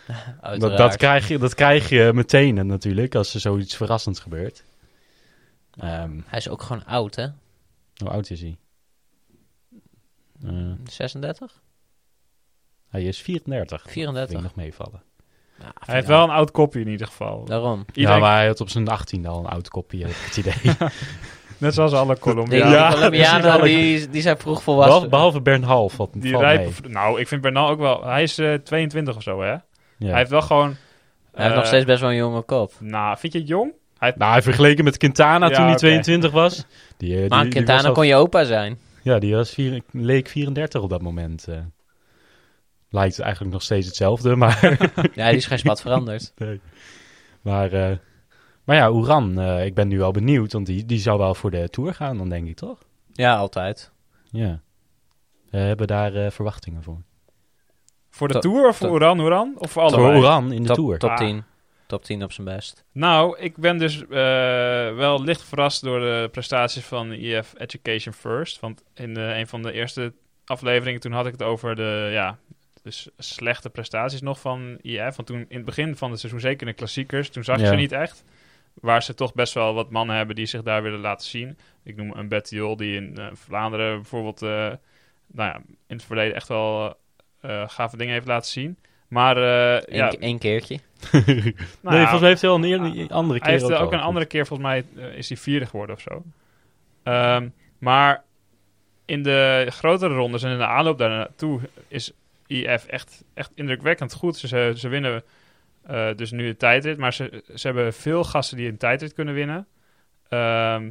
Speaker 2: Dat, dat,
Speaker 3: uiteraard.
Speaker 2: krijg je, dat krijg je meteen eh, natuurlijk als er zoiets verrassends gebeurt. Ehm,
Speaker 3: Hij is ook gewoon oud, hè?
Speaker 2: hoe oud is hij? Eh,
Speaker 3: 36?
Speaker 2: hij is 34. Vind ik
Speaker 3: 34?
Speaker 2: nog meevallen.
Speaker 3: Ja,
Speaker 1: Hij heeft wel een oud kopje in ieder geval.
Speaker 3: Daarom.
Speaker 1: Iedereen,
Speaker 2: Ja, maar hij had op zijn 18 al een oud kopje, heb ik het idee.
Speaker 1: Net zoals alle
Speaker 3: De
Speaker 1: Colombianen.
Speaker 3: ja,
Speaker 2: Ja,
Speaker 3: Colombianen,
Speaker 2: precies.
Speaker 3: die, die zijn vroeg
Speaker 2: Behalve,
Speaker 3: volwassen.
Speaker 2: behalve Bernd Half. Wat,
Speaker 1: Die
Speaker 2: valt
Speaker 1: rijdt
Speaker 2: mee.
Speaker 1: bev- Nou, ik vind Bernal ook wel. Hij is eh, 22 of zo, hè?
Speaker 2: Ja.
Speaker 1: Hij heeft wel gewoon.
Speaker 3: Hij heeft nog
Speaker 1: eh,
Speaker 3: steeds best wel een jonge kop.
Speaker 1: Nou, vind je het jong?
Speaker 2: Nou, vergeleken met Quintana
Speaker 1: Ja,
Speaker 2: toen hij
Speaker 1: oké.
Speaker 2: 22 was. Die, eh, die-
Speaker 3: Maar
Speaker 2: die was
Speaker 3: Quintana
Speaker 2: al-
Speaker 3: kon je opa zijn.
Speaker 2: Ja, die was vier, leek 34 op dat moment. eh. lijkt het eigenlijk nog steeds hetzelfde, maar...
Speaker 3: Ja, die is geen spat veranderd.
Speaker 2: nee. Maar, eh, maar ja, Oeran, eh, ik ben nu wel benieuwd, want die, die zou wel voor de Tour gaan dan, denk ik, toch?
Speaker 3: Ja, altijd.
Speaker 2: Ja. Eh, hebben daar eh, verwachtingen voor?
Speaker 1: Voor de
Speaker 3: To-
Speaker 1: Tour of voor
Speaker 3: to-
Speaker 1: Oeran Oeran? Of voor allebei?
Speaker 2: Voor Oeran in de
Speaker 3: Top,
Speaker 2: Tour.
Speaker 1: Ah.
Speaker 3: top 10. Top 10 op zijn best.
Speaker 1: Nou, ik ben dus eh, wel licht verrast door de prestaties van EF Education First. Want in eh, een van de eerste afleveringen toen had ik het over de ja, dus slechte prestaties nog van EF. Want toen in het begin van het seizoen, zeker in de klassiekers, toen zag je
Speaker 2: Ja.
Speaker 1: ze niet echt. Waar ze toch best wel wat mannen hebben die zich daar willen laten zien. Ik noem een Bettiol die in eh, Vlaanderen bijvoorbeeld eh, nou ja, in het verleden echt wel eh, gave dingen heeft laten zien. Maar eh ja,
Speaker 3: Eén één keertje.
Speaker 1: nou
Speaker 2: nee,
Speaker 1: ja,
Speaker 2: volgens mij heeft hij al een eer- een andere keer
Speaker 1: hij heeft eh, ook,
Speaker 2: ook, al
Speaker 1: een
Speaker 2: goed.
Speaker 1: andere keer, volgens mij eh, is hij vierde geworden of zo. Ehm, maar in de grotere rondes en in de aanloop daar naartoe is IF echt, echt indrukwekkend goed. Ze- Ze, ze winnen eh, dus nu de tijdrit, maar ze, ze hebben veel gasten die een tijdrit kunnen winnen. Ehm,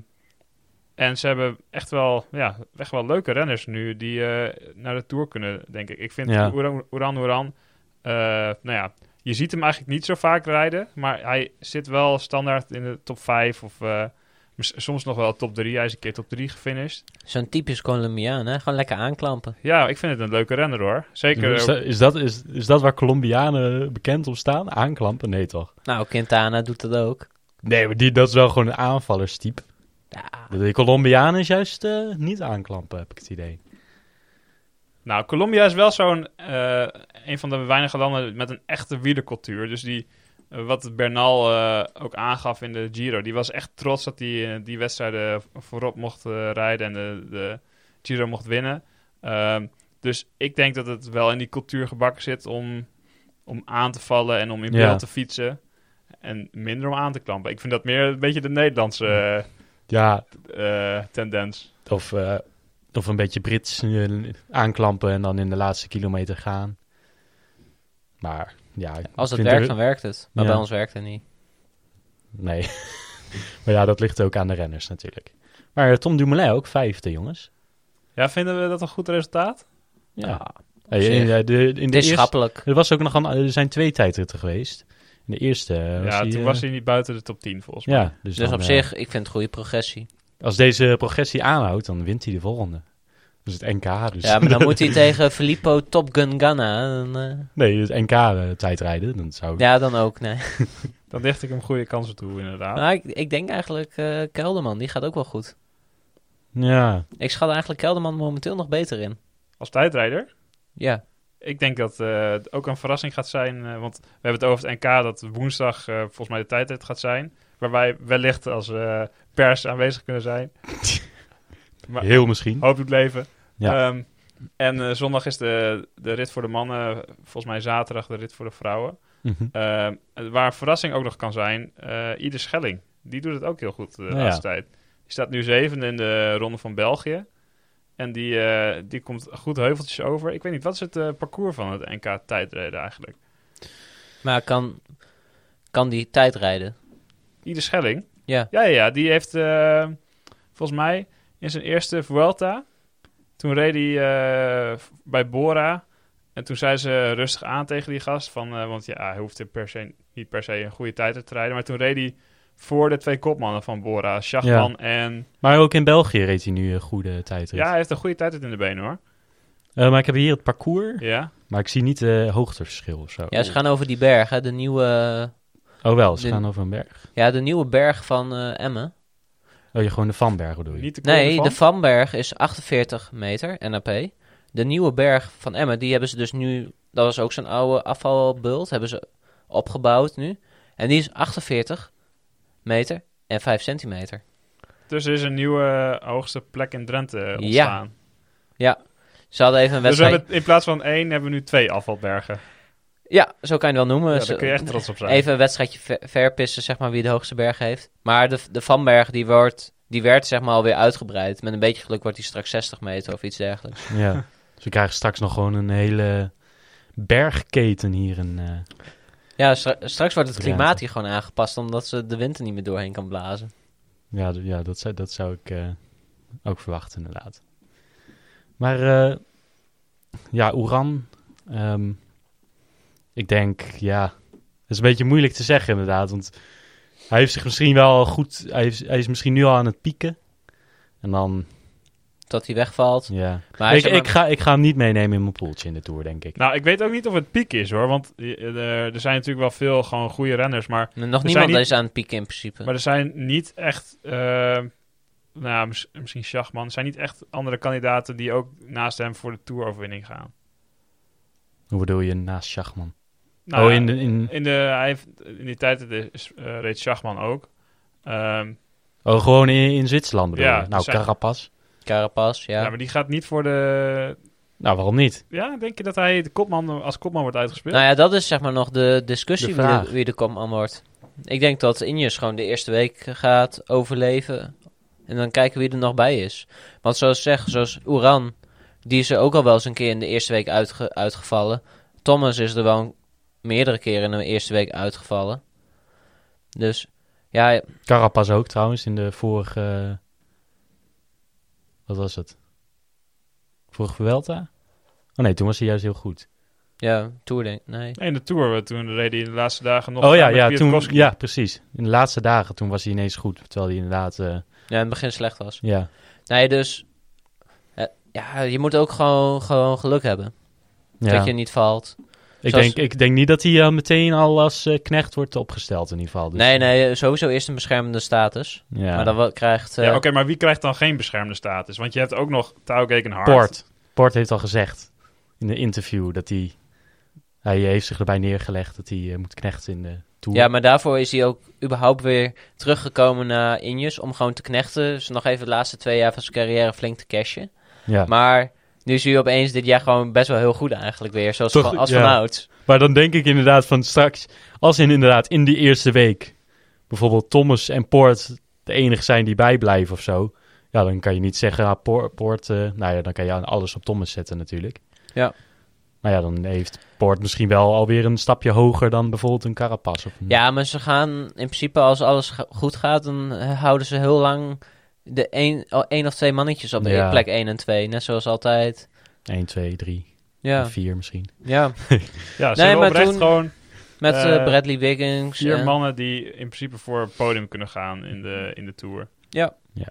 Speaker 1: en ze hebben echt wel, ja, echt wel leuke renners nu die eh, naar de Tour kunnen, denk ik. Ik vind
Speaker 2: Ja.
Speaker 1: Oeran Oeran, Oeran, eh, nou ja, je ziet hem eigenlijk niet zo vaak rijden, maar hij zit wel standaard in de top 5 of eh, mis- soms nog wel top 3. Hij is een keer top 3 gefinished.
Speaker 3: Zo'n typisch Colombiaan, hè? Gewoon lekker aanklampen.
Speaker 1: Ja, ik vind het een leuke renner hoor. Zeker.
Speaker 2: Is
Speaker 1: eh,
Speaker 2: dat, is, dat, is, is dat waar Colombianen bekend om staan? Aanklampen? Nee, toch?
Speaker 3: Nou, Quintana doet dat ook.
Speaker 2: Nee, maar die, dat is wel gewoon een aanvallerstype.
Speaker 3: Ja,
Speaker 2: De, de Colombiaan is juist eh, niet aanklampen, heb ik het idee.
Speaker 1: Nou, Colombia is wel zo'n eh, een van de weinige landen met een echte wielercultuur. Dus die, eh, wat Bernal eh, ook aangaf in de Giro, die was echt trots dat hij eh, die wedstrijden voorop mocht eh, rijden en de, de Giro mocht winnen. Ehm, dus ik denk dat het wel in die cultuur gebakken zit om, om aan te vallen en om in
Speaker 2: Ja.
Speaker 1: beeld te fietsen. En minder om aan te klampen. Ik vind dat meer een beetje de Nederlandse
Speaker 2: Ja,
Speaker 1: eh, eh, tendens.
Speaker 2: of, eh, of een beetje Brits eh, aanklampen en dan in de laatste kilometer gaan. Maar ja, ik
Speaker 3: als het
Speaker 2: vind
Speaker 3: werkt,
Speaker 2: er-
Speaker 3: dan werkt het. Maar
Speaker 2: Ja.
Speaker 3: bij ons werkt het niet.
Speaker 2: Nee. maar ja, dat ligt ook aan de renners natuurlijk. Maar eh, Tom Dumoulin ook vijfde, jongens.
Speaker 1: Ja, vinden we dat een goed resultaat?
Speaker 2: Ja. Dus
Speaker 3: op
Speaker 2: Hey,
Speaker 3: zich.
Speaker 2: in, eh, de, in
Speaker 3: het
Speaker 2: de
Speaker 3: is
Speaker 2: eerste-
Speaker 3: schappelijk.
Speaker 2: Er, was ook nog een, er zijn twee tijdritten geweest. In de eerste eh, was
Speaker 1: ja,
Speaker 2: hij,
Speaker 1: toen
Speaker 2: eh,
Speaker 1: was hij niet buiten de top 10 volgens mij.
Speaker 2: Ja, dus,
Speaker 3: Dus
Speaker 2: dan,
Speaker 3: op
Speaker 2: eh,
Speaker 3: zich, ik vind het goede progressie.
Speaker 2: Als deze progressie aanhoudt, dan wint hij de volgende. Dus het NK. Dus
Speaker 3: Ja, maar dan moet hij tegen Filippo Top Gun Ghana. Dan, eh,
Speaker 2: nee, het NK eh, tijdrijden. Dan zou ik...
Speaker 3: ja, dan ook, nee.
Speaker 1: Dan dicht ik hem goede kansen toe, inderdaad.
Speaker 3: Maar Nou, ik, ik denk eigenlijk eh, Kelderman, die gaat ook wel goed.
Speaker 2: ja.
Speaker 3: Ik schat eigenlijk Kelderman momenteel nog beter in.
Speaker 1: Als tijdrijder.
Speaker 3: Ja,
Speaker 1: Ik denk dat eh, het ook een verrassing gaat zijn. eh, want we hebben het over het NK dat woensdag eh, volgens mij de tijdrit gaat zijn. Waar wij wellicht als eh, pers aanwezig kunnen zijn. Maar- Oh.
Speaker 2: heel misschien.
Speaker 1: Hoop doet leven.
Speaker 2: Ja.
Speaker 1: Ehm, en eh, zondag is de, de rit voor de mannen. Volgens mij zaterdag de rit voor de vrouwen.
Speaker 2: Mhm.
Speaker 1: Ehm, waar een verrassing ook nog kan zijn, eh Ieder Schelling. Die doet het ook heel goed eh, de
Speaker 2: Nou ja.
Speaker 1: laatste tijd. Die staat nu zevende in de ronde van België. En die, eh, die komt goed heuveltjes over. Ik weet niet, wat is het eh, parcours van het NK tijdrijden eigenlijk?
Speaker 3: maar kan, kan die tijd rijden?
Speaker 1: Ieder Schelling?
Speaker 3: Ja,
Speaker 1: Ja, ja, ja. Die heeft eh, volgens mij in zijn eerste Vuelta... Toen reed hij eh, f- bij Bora. En toen zei ze rustig aan tegen die gast. Van, eh, want ja, hij hoefde per se, niet per se een goede tijd te rijden. Maar toen reed hij voor de twee kopmannen van Bora. Schachman en...
Speaker 2: Maar ook in België reed hij nu een goede tijdrit.
Speaker 1: Ja, hij heeft een goede tijd in de benen hoor.
Speaker 2: Eh, maar ik heb hier het parcours.
Speaker 1: Ja.
Speaker 2: Maar ik zie niet eh hoogteverschil of zo.
Speaker 3: ja
Speaker 1: Oh.
Speaker 3: ze gaan over die berg, hè, de nieuwe,
Speaker 2: Oh wel, ze
Speaker 3: de-
Speaker 2: gaan over een berg.
Speaker 3: ja, de nieuwe berg van eh, Emmen.
Speaker 2: Oh, je gewoon de Vanberg bedoel je?
Speaker 1: Niet te
Speaker 3: Nee, de
Speaker 1: van.
Speaker 3: Vanberg is 48 meter, NAP. De nieuwe berg van Emmen, die hebben ze dus nu... Dat was ook zo'n oude afvalbult, hebben ze opgebouwd nu. En die is 48 meter en 5 centimeter.
Speaker 1: Dus er is een nieuwe eh, hoogste plek in Drenthe eh,
Speaker 3: Ja,
Speaker 1: ontstaan.
Speaker 3: Ja, ze hadden even een
Speaker 1: dus we
Speaker 3: wedstrijd...
Speaker 1: hebben in plaats van één hebben we nu twee afvalbergen.
Speaker 3: Ja, zo kan je het wel noemen.
Speaker 1: Ja,
Speaker 3: Ze-
Speaker 1: daar kun je echt trots op zijn.
Speaker 3: Even een wedstrijdje ver- verpissen, zeg maar, wie de hoogste berg heeft. Maar de, de Vanberg, die, wordt, die werd zeg maar alweer uitgebreid. Met een beetje geluk wordt die straks 60 meter of iets dergelijks.
Speaker 2: Ja. dus we krijgen straks nog gewoon een hele bergketen hier in... eh,
Speaker 3: Ja, stra- straks wordt het
Speaker 2: Drenthe.
Speaker 3: klimaat hier gewoon aangepast... omdat ze de wind er niet meer doorheen kan blazen.
Speaker 2: Ja, d- ja dat, zou, dat zou ik eh, ook verwachten, inderdaad. Maar eh, ja, Oeran Ehm, ik denk, ja, het is een beetje moeilijk te zeggen inderdaad. Want hij heeft zich misschien wel goed, hij, heeft, hij is misschien nu al aan het pieken. En dan,
Speaker 3: dat hij wegvalt.
Speaker 2: ja.
Speaker 3: Maar hij
Speaker 2: ik,
Speaker 3: zou maar-
Speaker 2: ik, ga, ik ga hem niet meenemen in mijn poeltje in de Tour, denk ik.
Speaker 1: Nou, ik weet ook niet of het piek is hoor. Want eh, er zijn natuurlijk wel veel gewoon goede renners. Maar
Speaker 3: Nog
Speaker 1: Er
Speaker 3: niemand
Speaker 1: zijn niet-
Speaker 3: is aan het pieken in principe.
Speaker 1: Maar er zijn niet echt, eh, nou, ja, mis- misschien Schachman, er zijn niet echt andere kandidaten die ook naast hem voor de toeroverwinning gaan.
Speaker 2: Hoe bedoel je naast Schachman?
Speaker 1: Nou,
Speaker 2: oh,
Speaker 1: ja,
Speaker 2: in de, in,
Speaker 1: in, de, hij heeft- in die tijd is, eh, reed Schachman ook. Ehm,
Speaker 2: oh, gewoon in, in Zwitserland bedoel
Speaker 1: Ja, dus
Speaker 2: je? Nou,
Speaker 1: zijn-
Speaker 2: Carapaz.
Speaker 3: Carapaz, ja.
Speaker 1: ja. maar die gaat niet voor de.
Speaker 2: Nou, waarom niet?
Speaker 1: Ja, denk je dat hij de kopman, als kopman wordt uitgespeeld?
Speaker 3: Nou ja, dat is zeg maar nog de discussie
Speaker 2: De
Speaker 3: wie,
Speaker 2: vraag.
Speaker 3: de, wie de kopman wordt. Ik denk dat Injes gewoon de eerste week gaat overleven. En dan kijken wie er nog bij is. Want zoals ik zeg, zoals Oeran, die is er ook al wel eens een keer in de eerste week uitge- uitgevallen. Thomas is er wel een- meerdere keren in de eerste week uitgevallen. Dus ja,
Speaker 2: Carapaz ook trouwens in de vorige... eh, Wat was het? Vorige Vuelta? Oh nee, toen was hij juist heel goed.
Speaker 3: ja Tour denk Nee.
Speaker 1: Nee, in de tour, eh, toen reed hij de laatste dagen nog.
Speaker 2: oh ja,
Speaker 1: samen met
Speaker 2: ja, toen,
Speaker 1: Kwiatkowski.
Speaker 2: ja, precies. In de laatste dagen toen was hij ineens goed. Terwijl hij inderdaad... eh,
Speaker 3: Ja, in het begin slecht was.
Speaker 2: ja.
Speaker 3: Nee, dus eh, ja, je moet ook gewoon, gewoon geluk hebben.
Speaker 2: ja.
Speaker 3: Dat je niet valt.
Speaker 2: ik,
Speaker 3: zoals-
Speaker 2: denk, ik denk niet dat hij eh, meteen al als eh, knecht wordt opgesteld in ieder geval. Dus,
Speaker 3: Nee, nee, sowieso eerst een beschermende status.
Speaker 2: Ja.
Speaker 3: Maar dan wel- krijgt... eh,
Speaker 1: Ja, Oké, maar wie krijgt dan geen beschermde status? Want je hebt ook nog Tauke en Hart.
Speaker 2: Port. Port heeft al gezegd in een interview dat hij... Hij heeft zich erbij neergelegd dat hij eh, moet knechten in de Tour.
Speaker 3: ja, maar daarvoor is hij ook überhaupt weer teruggekomen naar Injes... om gewoon te knechten. Dus nog even de laatste twee jaar van zijn carrière flink te cashen.
Speaker 2: Ja.
Speaker 3: Maar nu zie je opeens dit jaar gewoon best wel heel goed eigenlijk weer. Zoals
Speaker 2: Toch,
Speaker 3: van, als
Speaker 2: ja.
Speaker 3: vanouds.
Speaker 2: Maar dan denk ik inderdaad van straks, als in inderdaad in die eerste week bijvoorbeeld Thomas en Poort de enige zijn die bijblijven of zo. Ja, dan kan je niet zeggen, ah, Poort, Poort, eh, nou ja, dan kan je aan alles op Thomas zetten natuurlijk.
Speaker 3: Ja.
Speaker 2: Maar ja, dan heeft Poort misschien wel alweer een stapje hoger dan bijvoorbeeld een Carapaz. Of een-
Speaker 3: Ja, maar ze gaan in principe als alles ga- goed gaat... dan eh, houden ze heel lang de één, al één of twee mannetjes op de
Speaker 2: Ja.
Speaker 3: plek 1 en 2. Net zoals altijd.
Speaker 2: 1, 2, 3,
Speaker 3: Ja,
Speaker 2: 4 misschien.
Speaker 3: ja.
Speaker 1: Ja, ze
Speaker 3: Nee,
Speaker 1: hebben
Speaker 3: maar
Speaker 1: oprecht
Speaker 3: toen-
Speaker 1: gewoon
Speaker 3: met eh,
Speaker 1: Eh,
Speaker 3: Bradley Wiggins.
Speaker 1: vier
Speaker 3: en-
Speaker 1: mannen die in principe voor het podium kunnen gaan in
Speaker 3: Mm-hmm.
Speaker 1: de, in de Tour.
Speaker 3: Ja.
Speaker 2: Ja.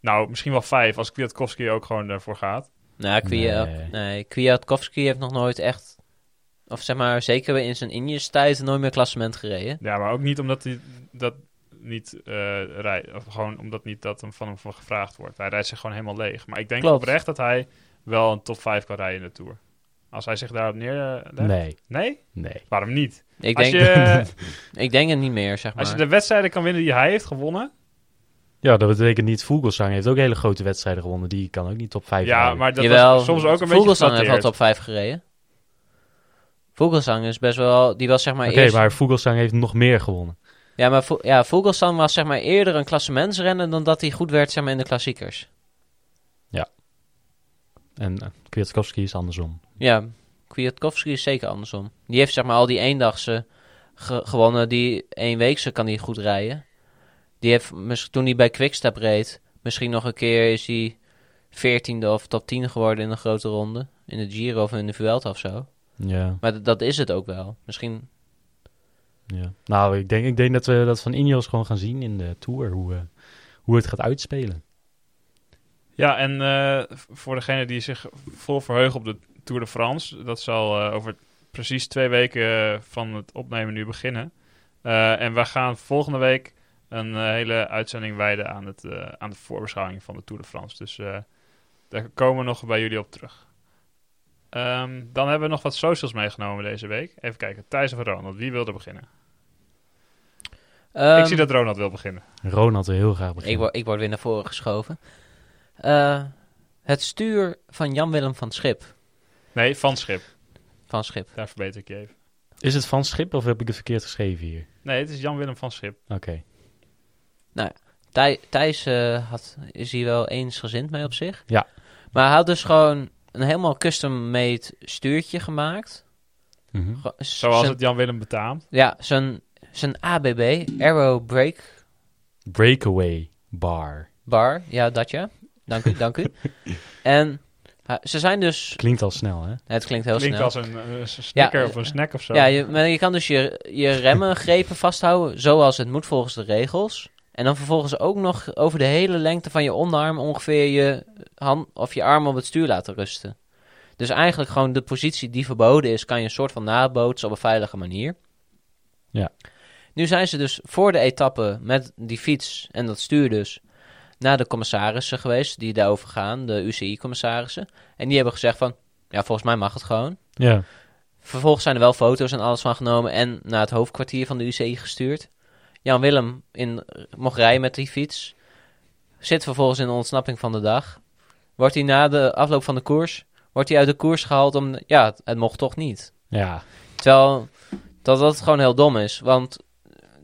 Speaker 1: Nou, misschien wel vijf als Kwiatkowski ook gewoon daarvoor gaat.
Speaker 3: Nou, Kwia-
Speaker 2: Nee.
Speaker 3: nee. Kwiatkowski heeft nog nooit echt... Of zeg maar, zeker in zijn Indiërs tijd nooit meer klassement gereden.
Speaker 1: Ja, maar ook niet omdat hij dat niet eh rijdt. Of gewoon omdat niet dat hem van hem voor gevraagd wordt. Hij rijdt zich gewoon helemaal leeg. Maar ik denk
Speaker 3: Klopt.
Speaker 1: oprecht dat hij wel een top 5 kan rijden in de Tour. Als hij zich daarop neerlegt?
Speaker 2: Nee,
Speaker 1: Nee?
Speaker 2: nee.
Speaker 1: Waarom niet?
Speaker 3: Ik
Speaker 1: Als
Speaker 3: denk,
Speaker 1: je,
Speaker 3: ik denk het niet meer, zeg maar.
Speaker 1: als je de wedstrijden kan winnen die hij heeft gewonnen.
Speaker 2: Ja, dat betekent niet, Vogelsang heeft ook hele grote wedstrijden gewonnen. Die kan ook niet top 5
Speaker 1: Ja, maar dat
Speaker 3: Jawel,
Speaker 1: was soms ook een
Speaker 3: Vogelsang
Speaker 1: beetje
Speaker 3: heeft wel
Speaker 1: geflatteerd.
Speaker 3: top 5 gereden. Vogelsang is best wel... Die was zeg maar
Speaker 2: Oké,
Speaker 3: eerst...
Speaker 2: maar Vogelsang heeft nog meer gewonnen.
Speaker 3: Ja, maar Vo- ja, Vogelsang was zeg maar eerder een klassementsrenner... dan dat hij goed werd zeg maar, in de klassiekers.
Speaker 2: En eh, Kwiatkowski is andersom.
Speaker 3: Ja, Kwiatkowski is zeker andersom. Die heeft zeg maar al die eendagse ge- gewonnen. Die eenweekse kan hij goed rijden. Die heeft, mis- toen hij bij Quickstep reed, misschien nog een keer is hij veertiende of top 10 geworden in een grote ronde. In de Giro of in de Vuelta of zo.
Speaker 2: Ja.
Speaker 3: Maar d- dat is het ook wel. Misschien,
Speaker 2: Ja. Nou, ik denk, ik denk dat we dat van Ineos gewoon gaan zien in de Tour, hoe, eh, hoe het gaat uitspelen.
Speaker 1: Ja, en eh, v- voor degene die zich vol verheugen op de Tour de France, dat zal eh, over precies twee weken eh, van het opnemen nu beginnen. Eh, en wij gaan volgende week een eh, hele uitzending wijden aan, het, eh, aan de voorbeschouwing van de Tour de France. Dus eh, daar komen we nog bij jullie op terug. Ehm, dan hebben we nog wat socials meegenomen deze week. Even kijken, Thijs of Ronald, wie wil er beginnen?
Speaker 3: Ehm,
Speaker 1: Ik zie dat Ronald wil beginnen.
Speaker 2: Ronald wil heel graag
Speaker 3: Ik
Speaker 2: beginnen.
Speaker 3: word, ik word weer naar voren geschoven. Eh, het stuur van Jan-Willem van Schip.
Speaker 1: Nee, van Schip.
Speaker 3: Van Schip.
Speaker 1: Daar verbeter ik je even.
Speaker 2: Is het van Schip of heb ik het verkeerd geschreven hier?
Speaker 1: Nee, het is Jan-Willem van Schip.
Speaker 2: Oké.
Speaker 3: Thij- Thijs eh, had, is hier wel eensgezind mee op zich.
Speaker 2: Ja.
Speaker 3: Maar hij had dus gewoon een helemaal custom-made stuurtje gemaakt.
Speaker 2: Mhm.
Speaker 3: Gewoon z-
Speaker 1: Zoals
Speaker 3: zijn-
Speaker 1: het Jan-Willem betaamt.
Speaker 3: Ja, zijn, zijn ABB, Arrow Break
Speaker 2: Breakaway bar.
Speaker 3: Bar. Ja, dat ja. Dank u, dank u. En Ha- Ze zijn dus...
Speaker 2: Klinkt al snel, hè?
Speaker 3: Het klinkt heel
Speaker 1: Klinkt
Speaker 3: snel.
Speaker 1: als een eh, s- snicker
Speaker 3: Ja,
Speaker 1: of een snack of zo.
Speaker 3: Ja, je, maar je kan dus je, je remmen, grepen vasthouden zoals het moet volgens de regels. En dan vervolgens ook nog over de hele lengte van je onderarm ongeveer je hand of je arm op het stuur laten rusten. Dus eigenlijk gewoon de positie die verboden is, kan je een soort van nabootsen op een veilige manier.
Speaker 2: Ja.
Speaker 3: Nu zijn ze dus voor de etappe met die fiets en dat stuur dus naar de commissarissen geweest die daarover gaan, de UCI-commissarissen. En die hebben gezegd van, ja volgens mij mag het gewoon.
Speaker 2: Ja.
Speaker 3: Vervolgens zijn er wel foto's en alles van genomen en naar het hoofdkwartier van de UCI gestuurd. Jan Willem in, mocht rijden met die fiets. Zit vervolgens in de ontsnapping van de dag. Wordt hij na de afloop van de koers, wordt hij uit de koers gehaald om... Ja, het, het mocht toch niet.
Speaker 2: Ja.
Speaker 3: Terwijl dat dat gewoon heel dom is. Want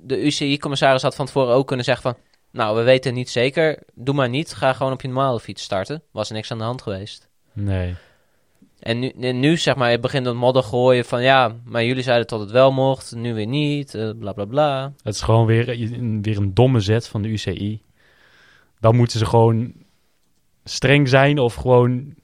Speaker 3: de UCI-commissaris had van tevoren ook kunnen zeggen van... Nou, we weten het niet zeker. Doe maar niet. Ga gewoon op je normale fiets starten. Was er niks aan de hand geweest.
Speaker 2: Nee.
Speaker 3: En nu, en nu zeg maar, begint dat modder gooien van ja, maar jullie zeiden dat het wel mocht, nu weer niet, eh, bla bla bla.
Speaker 2: Het is gewoon weer, je- weer een domme zet van de UCI. Dan moeten ze gewoon streng zijn of gewoon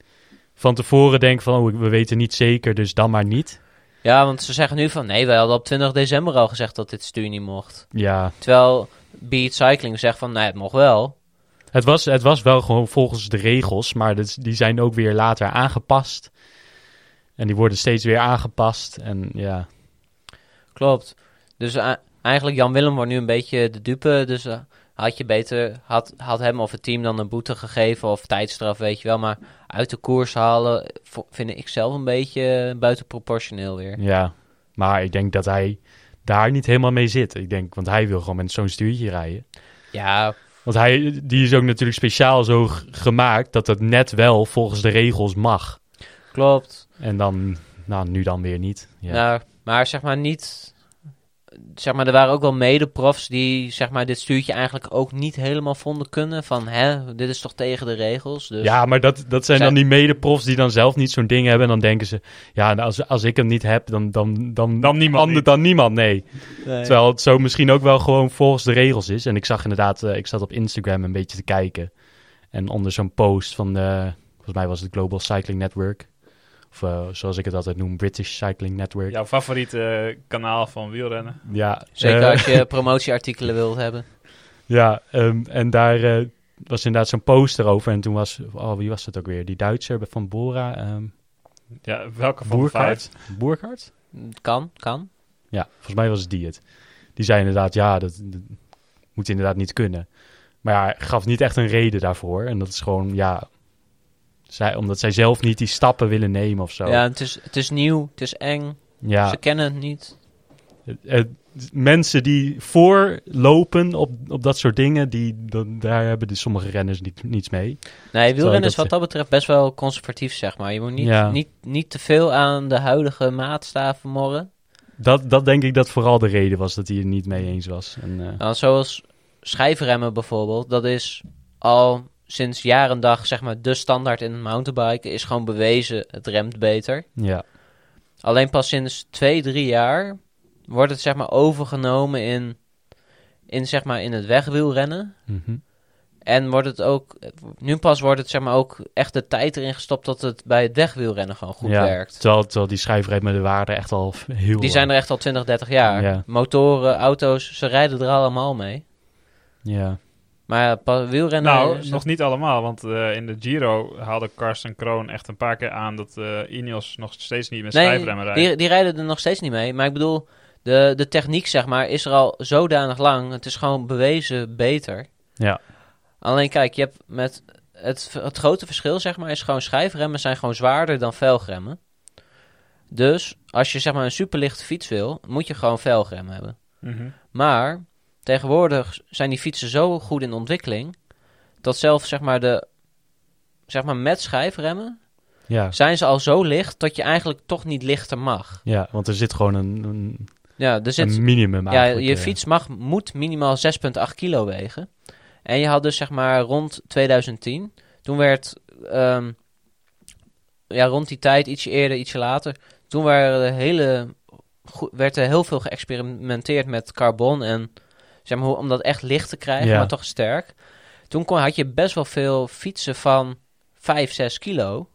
Speaker 2: van tevoren denken van... Oh, we weten niet zeker, dus dan maar niet.
Speaker 3: Ja, want ze zeggen nu van nee, wij hadden op 20 december al gezegd dat dit stuur niet mocht.
Speaker 2: Ja,
Speaker 3: Terwijl Beat Cycling zegt van nee, het mocht wel.
Speaker 2: Het was, het was wel gewoon volgens de regels, maar dat is- die zijn ook weer later aangepast. En die worden steeds weer aangepast. En ja,
Speaker 3: Klopt. Dus eh, eigenlijk Jan Willem wordt nu een beetje de dupe, dus eh, had je beter, had, had hem of het team dan een boete gegeven of tijdstraf, weet je wel. Maar uit de koers halen eh, vo- vind ik zelf een beetje eh, buitenproportioneel weer.
Speaker 2: ja. Maar ik denk dat hij daar niet helemaal mee zit. Ik denk, want hij wil gewoon met zo'n stuurtje rijden.
Speaker 3: Ja,
Speaker 2: Want hij, die is ook natuurlijk speciaal zo g- gemaakt dat het net wel volgens de regels mag.
Speaker 3: klopt.
Speaker 2: En dan, nou, nu dan weer niet. Ja,
Speaker 3: Nou, maar zeg maar niet. Zeg maar, er waren ook wel mede-profs die zeg maar, dit stuurtje eigenlijk ook niet helemaal vonden kunnen. Van hè, dit is toch tegen de regels. Dus
Speaker 2: ja maar dat, dat zijn
Speaker 3: Zij-
Speaker 2: dan die medeprofs die dan zelf niet zo'n ding hebben. En dan denken ze, ja, nou, als, als ik hem niet heb, dan, dan, dan,
Speaker 1: Dan niemand
Speaker 2: ander-
Speaker 1: niet.
Speaker 2: dan niemand. Nee.
Speaker 3: Nee.
Speaker 2: Terwijl het zo misschien ook wel gewoon volgens de regels is. En ik zag inderdaad, eh, ik zat op Instagram een beetje te kijken. En onder zo'n post van, eh, volgens mij was het Global Cycling Network. Of eh, zoals ik het altijd noem, British Cycling Network. Ja,
Speaker 1: Jouw favoriete eh, kanaal van wielrennen.
Speaker 3: Zeker
Speaker 2: eh,
Speaker 3: als je promotieartikelen wilt hebben.
Speaker 2: ja, ehm, en daar eh, was inderdaad zo'n post erover. En toen was, oh, wie was dat ook weer? Die Duitser van Bora. ehm
Speaker 1: Ja, welke van de vijf?
Speaker 2: Boerkaart? Boerkaart?
Speaker 3: Kan, kan.
Speaker 2: Ja, volgens mij was het die het. Die zei inderdaad, ja, dat, dat moet inderdaad niet kunnen. Maar ja, gaf niet echt een reden daarvoor. En dat is gewoon, ja, zij, omdat zij zelf niet die stappen willen nemen of zo.
Speaker 3: Ja, Dus het is, het is nieuw, het is eng.
Speaker 2: Ja,
Speaker 3: Ze kennen het niet.
Speaker 2: het- het- mensen die voorlopen op, op dat soort dingen, die, dat- daar hebben de sommige renners niet, niets mee.
Speaker 3: Nee,
Speaker 2: ik
Speaker 3: wielrennen
Speaker 2: dat
Speaker 3: is wat dat betreft best wel conservatief, zeg maar. Je moet niet,
Speaker 2: Ja.
Speaker 3: niet, niet te veel aan de huidige maatstaven morren.
Speaker 2: Dat, dat denk ik dat vooral de reden was dat hij er niet mee eens was. En, eh,
Speaker 3: Nou, zoals schijfremmen bijvoorbeeld, dat is al sinds jaar en dag zeg maar de standaard in het mountainbiken. Is gewoon bewezen, het remt beter.
Speaker 2: ja.
Speaker 3: Alleen pas sinds twee, drie jaar wordt het zeg maar overgenomen in, in, zeg maar, in het wegwielrennen.
Speaker 2: Mhm.
Speaker 3: En wordt het ook, nu pas wordt het zeg maar ook echt de tijd erin gestopt dat het bij het wegwielrennen gewoon goed
Speaker 2: ja.
Speaker 3: werkt.
Speaker 2: Terwijl, terwijl die schrijfrijd met de waarde echt al heel
Speaker 3: Die zijn er echt al 20, 30 jaar.
Speaker 2: Ja.
Speaker 3: Motoren, auto's, ze rijden er allemaal mee.
Speaker 2: Ja.
Speaker 3: Maar ja, pa- wielrennen...
Speaker 1: Nou,
Speaker 3: is-
Speaker 1: nog niet allemaal, want eh, in de Giro haalde Karsten Kroon echt een paar keer aan dat eh Ineos nog steeds niet met schijfremmen rijdt.
Speaker 3: Die, die rijden er nog steeds niet mee. Maar ik bedoel, de, de techniek zeg maar is er al zodanig lang. Het is gewoon bewezen beter.
Speaker 2: Ja.
Speaker 3: Alleen kijk, je hebt met het, het grote verschil zeg maar is gewoon schijfremmen zijn gewoon zwaarder dan velgremmen. Dus als je zeg maar een superlichte fiets wil, moet je gewoon velgremmen hebben.
Speaker 1: Mhm.
Speaker 3: Maar tegenwoordig zijn die fietsen zo goed in ontwikkeling dat zelfs zeg maar de zeg maar met schijfremmen
Speaker 2: Ja.
Speaker 3: zijn ze al zo licht dat je eigenlijk toch niet lichter mag.
Speaker 2: Ja, want er zit gewoon een, een,
Speaker 3: Ja, er zit,
Speaker 2: een minimum eh. aan.
Speaker 3: ja je fiets mag, moet minimaal 6,8 kilo wegen. En je had dus zeg maar rond 2010, toen werd, ehm, ja, rond die tijd, ietsje eerder, ietsje later, toen waren de hele, goe- werd er heel veel geëxperimenteerd met carbon en zeg maar, hoe- om dat echt licht te krijgen,
Speaker 2: Ja.
Speaker 3: maar toch sterk. Toen kon, had je best wel veel fietsen van 5, 6 kilo.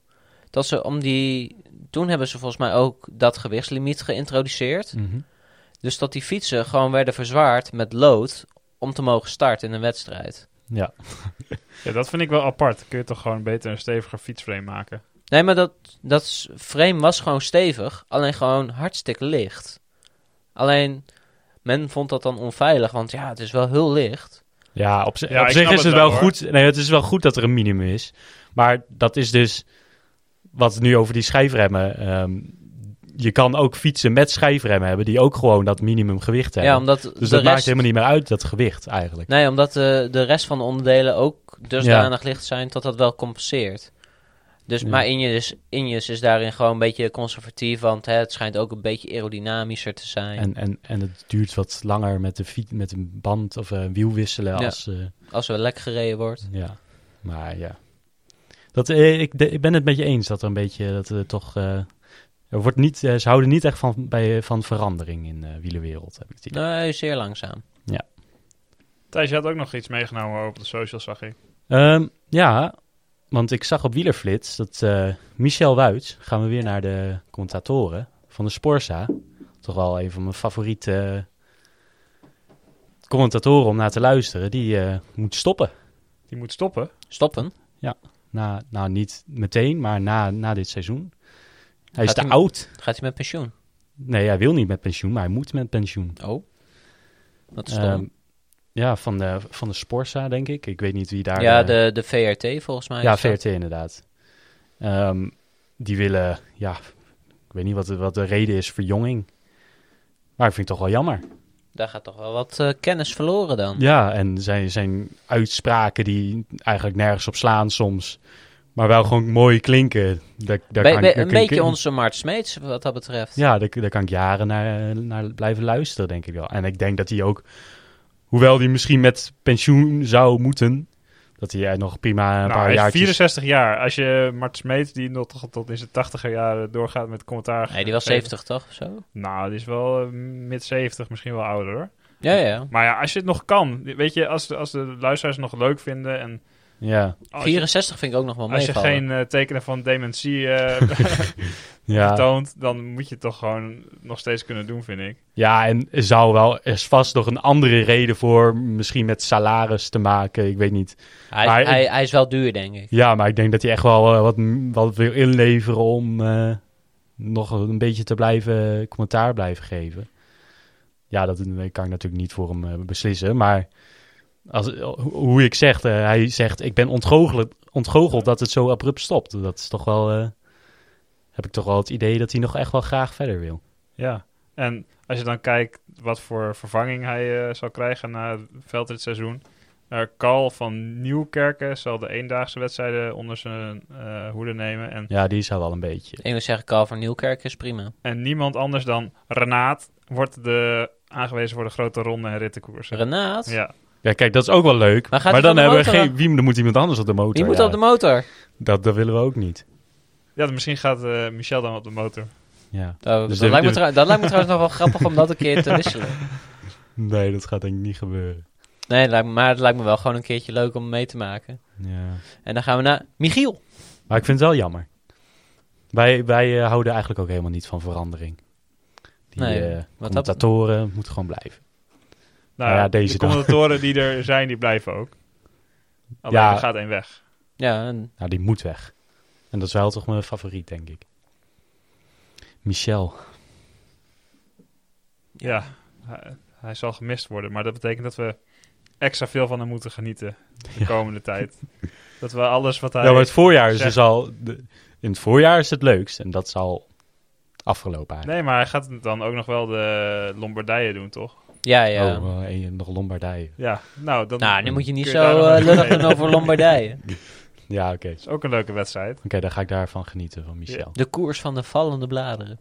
Speaker 3: dat ze om die... Toen hebben ze volgens mij ook dat gewichtslimiet geïntroduceerd.
Speaker 2: Mhm.
Speaker 3: Dus dat die fietsen gewoon werden verzwaard met lood om te mogen starten in een wedstrijd.
Speaker 2: Ja,
Speaker 1: Ja, dat vind ik wel apart. Kun je toch gewoon beter een steviger fietsframe maken?
Speaker 3: Nee, maar dat, dat s- frame was gewoon stevig, alleen gewoon hartstikke licht. Alleen, men vond dat dan onveilig, want ja, het is wel heel licht.
Speaker 2: ja op, zi-
Speaker 1: Ja,
Speaker 2: op
Speaker 1: ik
Speaker 2: zich
Speaker 1: snap
Speaker 2: is
Speaker 1: het
Speaker 2: het
Speaker 1: wel,
Speaker 2: wel
Speaker 1: hoor.
Speaker 2: goed. Nee, het is wel goed dat er een minimum is. Maar dat is dus wat nu over die schijfremmen. ehm, je kan ook fietsen met schijfremmen hebben die ook gewoon dat minimum gewicht
Speaker 3: Ja,
Speaker 2: hebben.
Speaker 3: omdat
Speaker 2: dus
Speaker 3: de
Speaker 2: dat maakt
Speaker 3: rest...
Speaker 2: helemaal niet meer uit, dat gewicht eigenlijk.
Speaker 3: Nee, omdat de, de rest van de onderdelen ook dusdanig licht zijn dat dat wel compenseert. Dus,
Speaker 2: Ja.
Speaker 3: Maar Injes, Injes is daarin gewoon een beetje conservatief, want hè, het schijnt ook een beetje aerodynamischer te zijn.
Speaker 2: En, en, en het duurt wat langer met, de fiets, met een band of een wiel wisselen
Speaker 3: Ja.
Speaker 2: als... eh,
Speaker 3: Als er lek gereden wordt.
Speaker 2: Ja, maar ja. Dat, eh, ik, de- ik ben het met je eens dat er een beetje dat er toch. eh, er wordt niet, eh, ze houden niet echt van, bij, van verandering in de wielerwereld, heb ik het idee.
Speaker 3: Nee, zeer langzaam.
Speaker 1: Thijs, je had ook nog iets meegenomen op de socials, zag ik.
Speaker 2: Ehm, ja, want ik zag op Wielerflits dat eh, Michel Wuits, gaan we weer naar de commentatoren van de Sporza. Toch wel een van mijn favoriete eh, commentatoren om naar te luisteren. Die eh, moet stoppen.
Speaker 1: Die moet stoppen.
Speaker 3: Stoppen.
Speaker 2: Na, nou, niet meteen, maar na, na dit seizoen. Hij is
Speaker 3: Gaat
Speaker 2: te
Speaker 3: hij-
Speaker 2: oud.
Speaker 3: Gaat hij met pensioen?
Speaker 2: Nee, hij wil niet met pensioen, maar hij moet met pensioen.
Speaker 3: Oh. Wat is
Speaker 2: Ehm, ja, van de, van de Sporza, denk ik. Ik weet niet wie daar...
Speaker 3: ja,
Speaker 2: eh,
Speaker 3: de, de VRT volgens mij.
Speaker 2: ja
Speaker 3: is dat.
Speaker 2: VRT inderdaad. Ehm, die willen, ja, ik weet niet wat de, wat de reden is, verjonging. Maar ik vind het toch wel jammer.
Speaker 3: Daar gaat toch wel wat eh, kennis verloren dan.
Speaker 2: Ja, en zijn, zijn uitspraken die eigenlijk nergens op slaan soms, maar wel gewoon mooi klinken. Daar, daar
Speaker 3: Be-
Speaker 2: kan,
Speaker 3: be-
Speaker 2: daar
Speaker 3: een
Speaker 2: kan ik-
Speaker 3: beetje onze Mart Smeets wat dat betreft.
Speaker 2: Ja, daar, daar kan ik jaren naar, eh, naar blijven luisteren, denk ik wel. En ik denk dat hij ook, hoewel hij misschien met pensioen zou moeten, dat hij eh, nog prima een
Speaker 1: nou,
Speaker 2: paar
Speaker 1: hij is
Speaker 2: jaar.
Speaker 1: 64 jaar. Als je Mart Smeet, die nog tot, tot in zijn 80er jaren doorgaat met commentaar.
Speaker 3: Nee, die was 70 toch? of Zo?
Speaker 1: Nou, die is wel eh, mid 70, misschien wel ouder hoor.
Speaker 3: Ja, ja.
Speaker 1: Maar ja, als je het nog kan. Weet je, als de, als de luisteraars het nog leuk vinden en...
Speaker 2: Ja,
Speaker 1: Als je,
Speaker 3: 64 vind ik ook nog wel
Speaker 1: als je
Speaker 3: meevallen.
Speaker 1: geen eh, tekenen van dementie eh
Speaker 2: ja.
Speaker 1: toont, dan moet je het toch gewoon nog steeds kunnen doen, vind ik.
Speaker 2: ja, en er zou wel, er is vast nog een andere reden voor, misschien met salaris te maken, ik weet niet.
Speaker 3: Hij,
Speaker 2: Maar ik-
Speaker 3: hij, hij is wel duur, denk ik.
Speaker 2: Ja, maar ik denk dat hij echt wel eh, wat, wat wil inleveren om eh, nog een beetje te blijven eh, commentaar blijven geven. Ja, dat eh, kan ik natuurlijk niet voor hem eh, beslissen, maar als, ho- hoe ik zeg, eh, hij zegt ik ben ontgoocheld, ontgoocheld dat het zo abrupt stopt. Dat is toch wel, eh, heb ik toch wel het idee dat hij nog echt wel graag verder wil.
Speaker 1: Ja. En als je dan kijkt wat voor vervanging hij eh, zal krijgen na het veldritseizoen. Eh Carl van Nieuwkerken zal de eendaagse wedstrijden onder zijn eh, hoede nemen. En,
Speaker 2: Ja, die is al wel een beetje.
Speaker 3: Ik wil zeggen, Carl van Nieuwkerk is prima.
Speaker 1: en niemand anders dan Renaat wordt de, aangewezen voor de grote ronde en rittenkoersen.
Speaker 3: Renaat?
Speaker 1: ja.
Speaker 2: Ja, kijk, dat is ook wel leuk.
Speaker 3: Maar
Speaker 2: Maar,
Speaker 3: gaat hij van
Speaker 2: dan
Speaker 3: de
Speaker 2: hebben we
Speaker 3: motor
Speaker 2: geen... Wie, dan moet iemand anders op de motor.
Speaker 3: Wie moet
Speaker 2: ja.
Speaker 3: op de motor?
Speaker 2: dat, dat willen we ook niet.
Speaker 1: ja, misschien gaat eh, Michel dan op de motor.
Speaker 2: Ja.
Speaker 3: Oh,
Speaker 2: Dus
Speaker 3: dat,
Speaker 2: de-
Speaker 3: lijkt me
Speaker 2: de-
Speaker 3: trou- dat lijkt me trouwens nog wel grappig om dat een keer te wisselen.
Speaker 2: Nee, dat gaat denk ik niet gebeuren.
Speaker 3: Nee, het lijkt me- maar het lijkt me wel gewoon een keertje leuk om mee te maken.
Speaker 2: Ja.
Speaker 3: En dan gaan we naar Michiel.
Speaker 2: Maar ik vind het wel jammer. Wij, wij eh, houden eigenlijk ook helemaal niet van verandering. Die
Speaker 3: Nee,
Speaker 2: eh,
Speaker 3: wat dat-
Speaker 2: commentatoren moeten gewoon blijven.
Speaker 1: Nou
Speaker 2: Ja,
Speaker 1: ja,
Speaker 2: deze
Speaker 1: de
Speaker 2: dan.
Speaker 1: commentatoren die er zijn, die blijven ook. Alleen
Speaker 2: Ja.
Speaker 1: er gaat één weg.
Speaker 3: Ja, en-
Speaker 2: Nou, die moet weg. En dat is wel toch mijn favoriet, denk ik. Michel.
Speaker 1: Ja, hij, hij zal gemist worden. Maar dat betekent dat we extra veel van hem moeten genieten de
Speaker 2: Ja.
Speaker 1: komende tijd. Dat we alles wat hij...
Speaker 2: Ja, Nou, maar het voorjaar is
Speaker 1: Zeg-
Speaker 2: dus al... de- in het voorjaar is het leukst. En dat is al afgelopen eigenlijk.
Speaker 1: Nee, maar hij gaat dan ook nog wel de Lombardije doen, toch?
Speaker 3: ja, ja.
Speaker 2: Oh, eh, en nog Lombardije.
Speaker 1: Ja, nou, dan...
Speaker 3: nou, nu moet je niet
Speaker 1: kun
Speaker 3: zo
Speaker 1: daar nog even
Speaker 3: eh, lullig
Speaker 1: mee.
Speaker 3: doen over Lombardije.
Speaker 2: Ja, oké.
Speaker 1: Dat is ook een leuke wedstrijd.
Speaker 2: Oké, dan ga ik daarvan genieten van Michel.
Speaker 3: De koers van de vallende bladeren.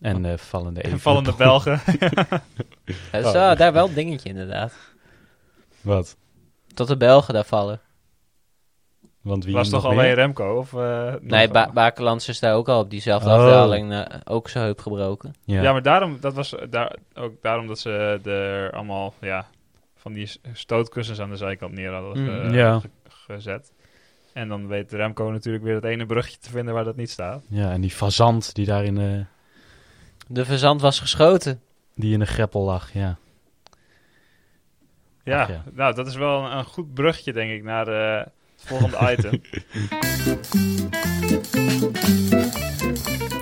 Speaker 2: En eh, vallende
Speaker 1: En
Speaker 2: Evenepoel.
Speaker 1: vallende Belgen.
Speaker 3: Ja,
Speaker 1: Oh,
Speaker 3: dat is
Speaker 1: dus-
Speaker 3: wel- daar wel een dingetje inderdaad.
Speaker 2: Wat?
Speaker 3: Tot de Belgen daar vallen.
Speaker 2: Want wie
Speaker 1: was toch
Speaker 2: nog
Speaker 1: alleen
Speaker 2: meer?
Speaker 1: Remco? Of, eh,
Speaker 3: Nee,
Speaker 1: nog-
Speaker 3: ba Bakelands is daar ook al op diezelfde
Speaker 2: Oh.
Speaker 3: afdaling eh, ook zijn heup gebroken.
Speaker 2: Ja.
Speaker 1: Ja. maar daarom, dat was daar, ook daarom dat ze eh, er allemaal ja, van die s- stootkussens aan de zijkant neer hadden
Speaker 3: Mm.
Speaker 1: eh,
Speaker 2: Ja.
Speaker 1: ge- gezet. En dan weet Remco natuurlijk weer het ene bruggetje te vinden waar dat niet staat.
Speaker 2: Ja, en die fazant die daar in eh, de,
Speaker 3: De verzand was geschoten.
Speaker 2: die in de greppel lag, ja.
Speaker 1: Ja,
Speaker 2: Ach ja.
Speaker 1: nou, dat is wel een, een goed bruggetje, denk ik, naar eh, het volgende item.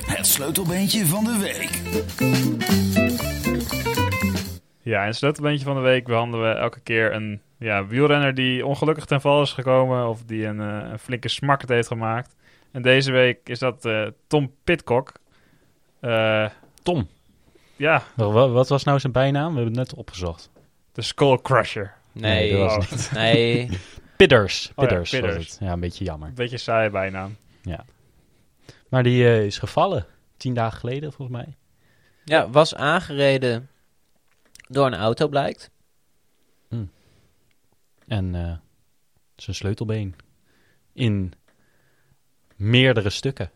Speaker 6: Het sleutelbeentje van de week.
Speaker 1: Ja, in het sleutelbeentje van de week behandelen we elke keer een ja, wielrenner die ongelukkig ten val is gekomen of die een, eh, een flinke smakkert heeft gemaakt. En deze week is dat eh, Tom Pitcock. Eh,
Speaker 2: Tom.
Speaker 1: ja,
Speaker 2: Wa- wa- Wat was nou zijn bijnaam? We hebben het net opgezocht.
Speaker 1: de Skull Crusher.
Speaker 3: Nee,
Speaker 2: dat
Speaker 3: nee.
Speaker 1: Oh,
Speaker 2: was Pidders.
Speaker 1: ja,
Speaker 2: Pidders, was
Speaker 1: Pidders.
Speaker 2: het. Ja, een beetje jammer.
Speaker 1: een beetje saai bijnaam.
Speaker 2: Maar die eh, is gevallen. Tien dagen geleden, volgens mij.
Speaker 3: Ja, was aangereden door een auto, blijkt.
Speaker 2: En eh, zijn sleutelbeen. In meerdere stukken.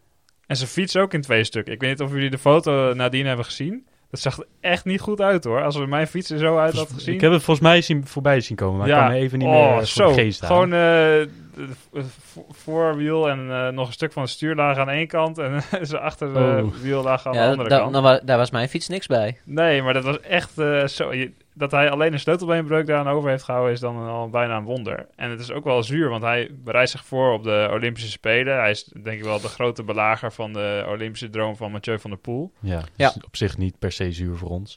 Speaker 1: En zijn fiets ook in twee stukken. Ik weet niet of jullie de foto nadien hebben gezien. Dat zag er echt niet goed uit hoor. Als we mijn fiets er zo uit had
Speaker 2: Volgens-
Speaker 1: gezien. Oh,
Speaker 2: Ik heb het volgens mij zien, voorbij zien komen, maar ik kan me even niet meer eh, voor
Speaker 1: zo.
Speaker 2: de geest halen.
Speaker 1: Gewoon eh, de- de vo- voorwiel en eh, nog een stuk van het stuur lagen aan één kant en zijn achterwiel lagen aan
Speaker 3: Ja,
Speaker 1: de
Speaker 3: dat-
Speaker 1: andere
Speaker 3: dat-
Speaker 1: kant.
Speaker 3: dan wa- daar was mijn fiets niks bij.
Speaker 1: Nee, maar dat was echt eh, zo. je- dat hij alleen een sleutelbeenbreuk daaraan over heeft gehouden is dan een- al bijna een wonder. En het is ook wel zuur, want hij bereidt zich voor op de Olympische Spelen. Hij is denk ik wel de grote belager van de Olympische droom van Mathieu van der Poel.
Speaker 2: Ja, dus
Speaker 3: Ja.
Speaker 2: op zich niet per se zuur voor ons.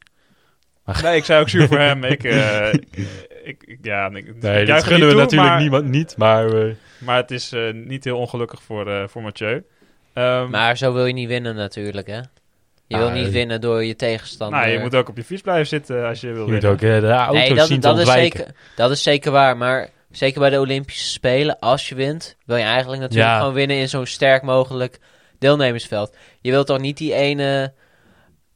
Speaker 1: Nee, ik zei ook zuur voor hem. Ik, eh, ik, ik- ja, ik, Dus ik
Speaker 2: Nee,
Speaker 1: juich
Speaker 2: dat
Speaker 1: hem niet toe,
Speaker 2: gunnen we natuurlijk
Speaker 1: maar-
Speaker 2: niemand niet, maar... eh,
Speaker 1: Maar het is eh, niet heel ongelukkig voor, eh, voor Mathieu. Ehm,
Speaker 3: Maar zo wil je niet winnen natuurlijk, hè. Je wil
Speaker 2: Ah,
Speaker 3: niet
Speaker 2: eh,
Speaker 3: winnen door je tegenstander.
Speaker 1: nou, je moet ook op je fiets blijven zitten als je wil
Speaker 2: je moet
Speaker 1: winnen.
Speaker 2: ook eh, de auto
Speaker 3: nee, dat,
Speaker 2: zien
Speaker 3: dat
Speaker 2: te
Speaker 3: is
Speaker 2: ontwijken.
Speaker 3: zeker, dat is zeker waar. Maar zeker bij de Olympische Spelen, als je wint, wil je eigenlijk natuurlijk
Speaker 2: Ja.
Speaker 3: gewoon winnen in zo'n sterk mogelijk deelnemersveld. Je wilt toch niet die ene.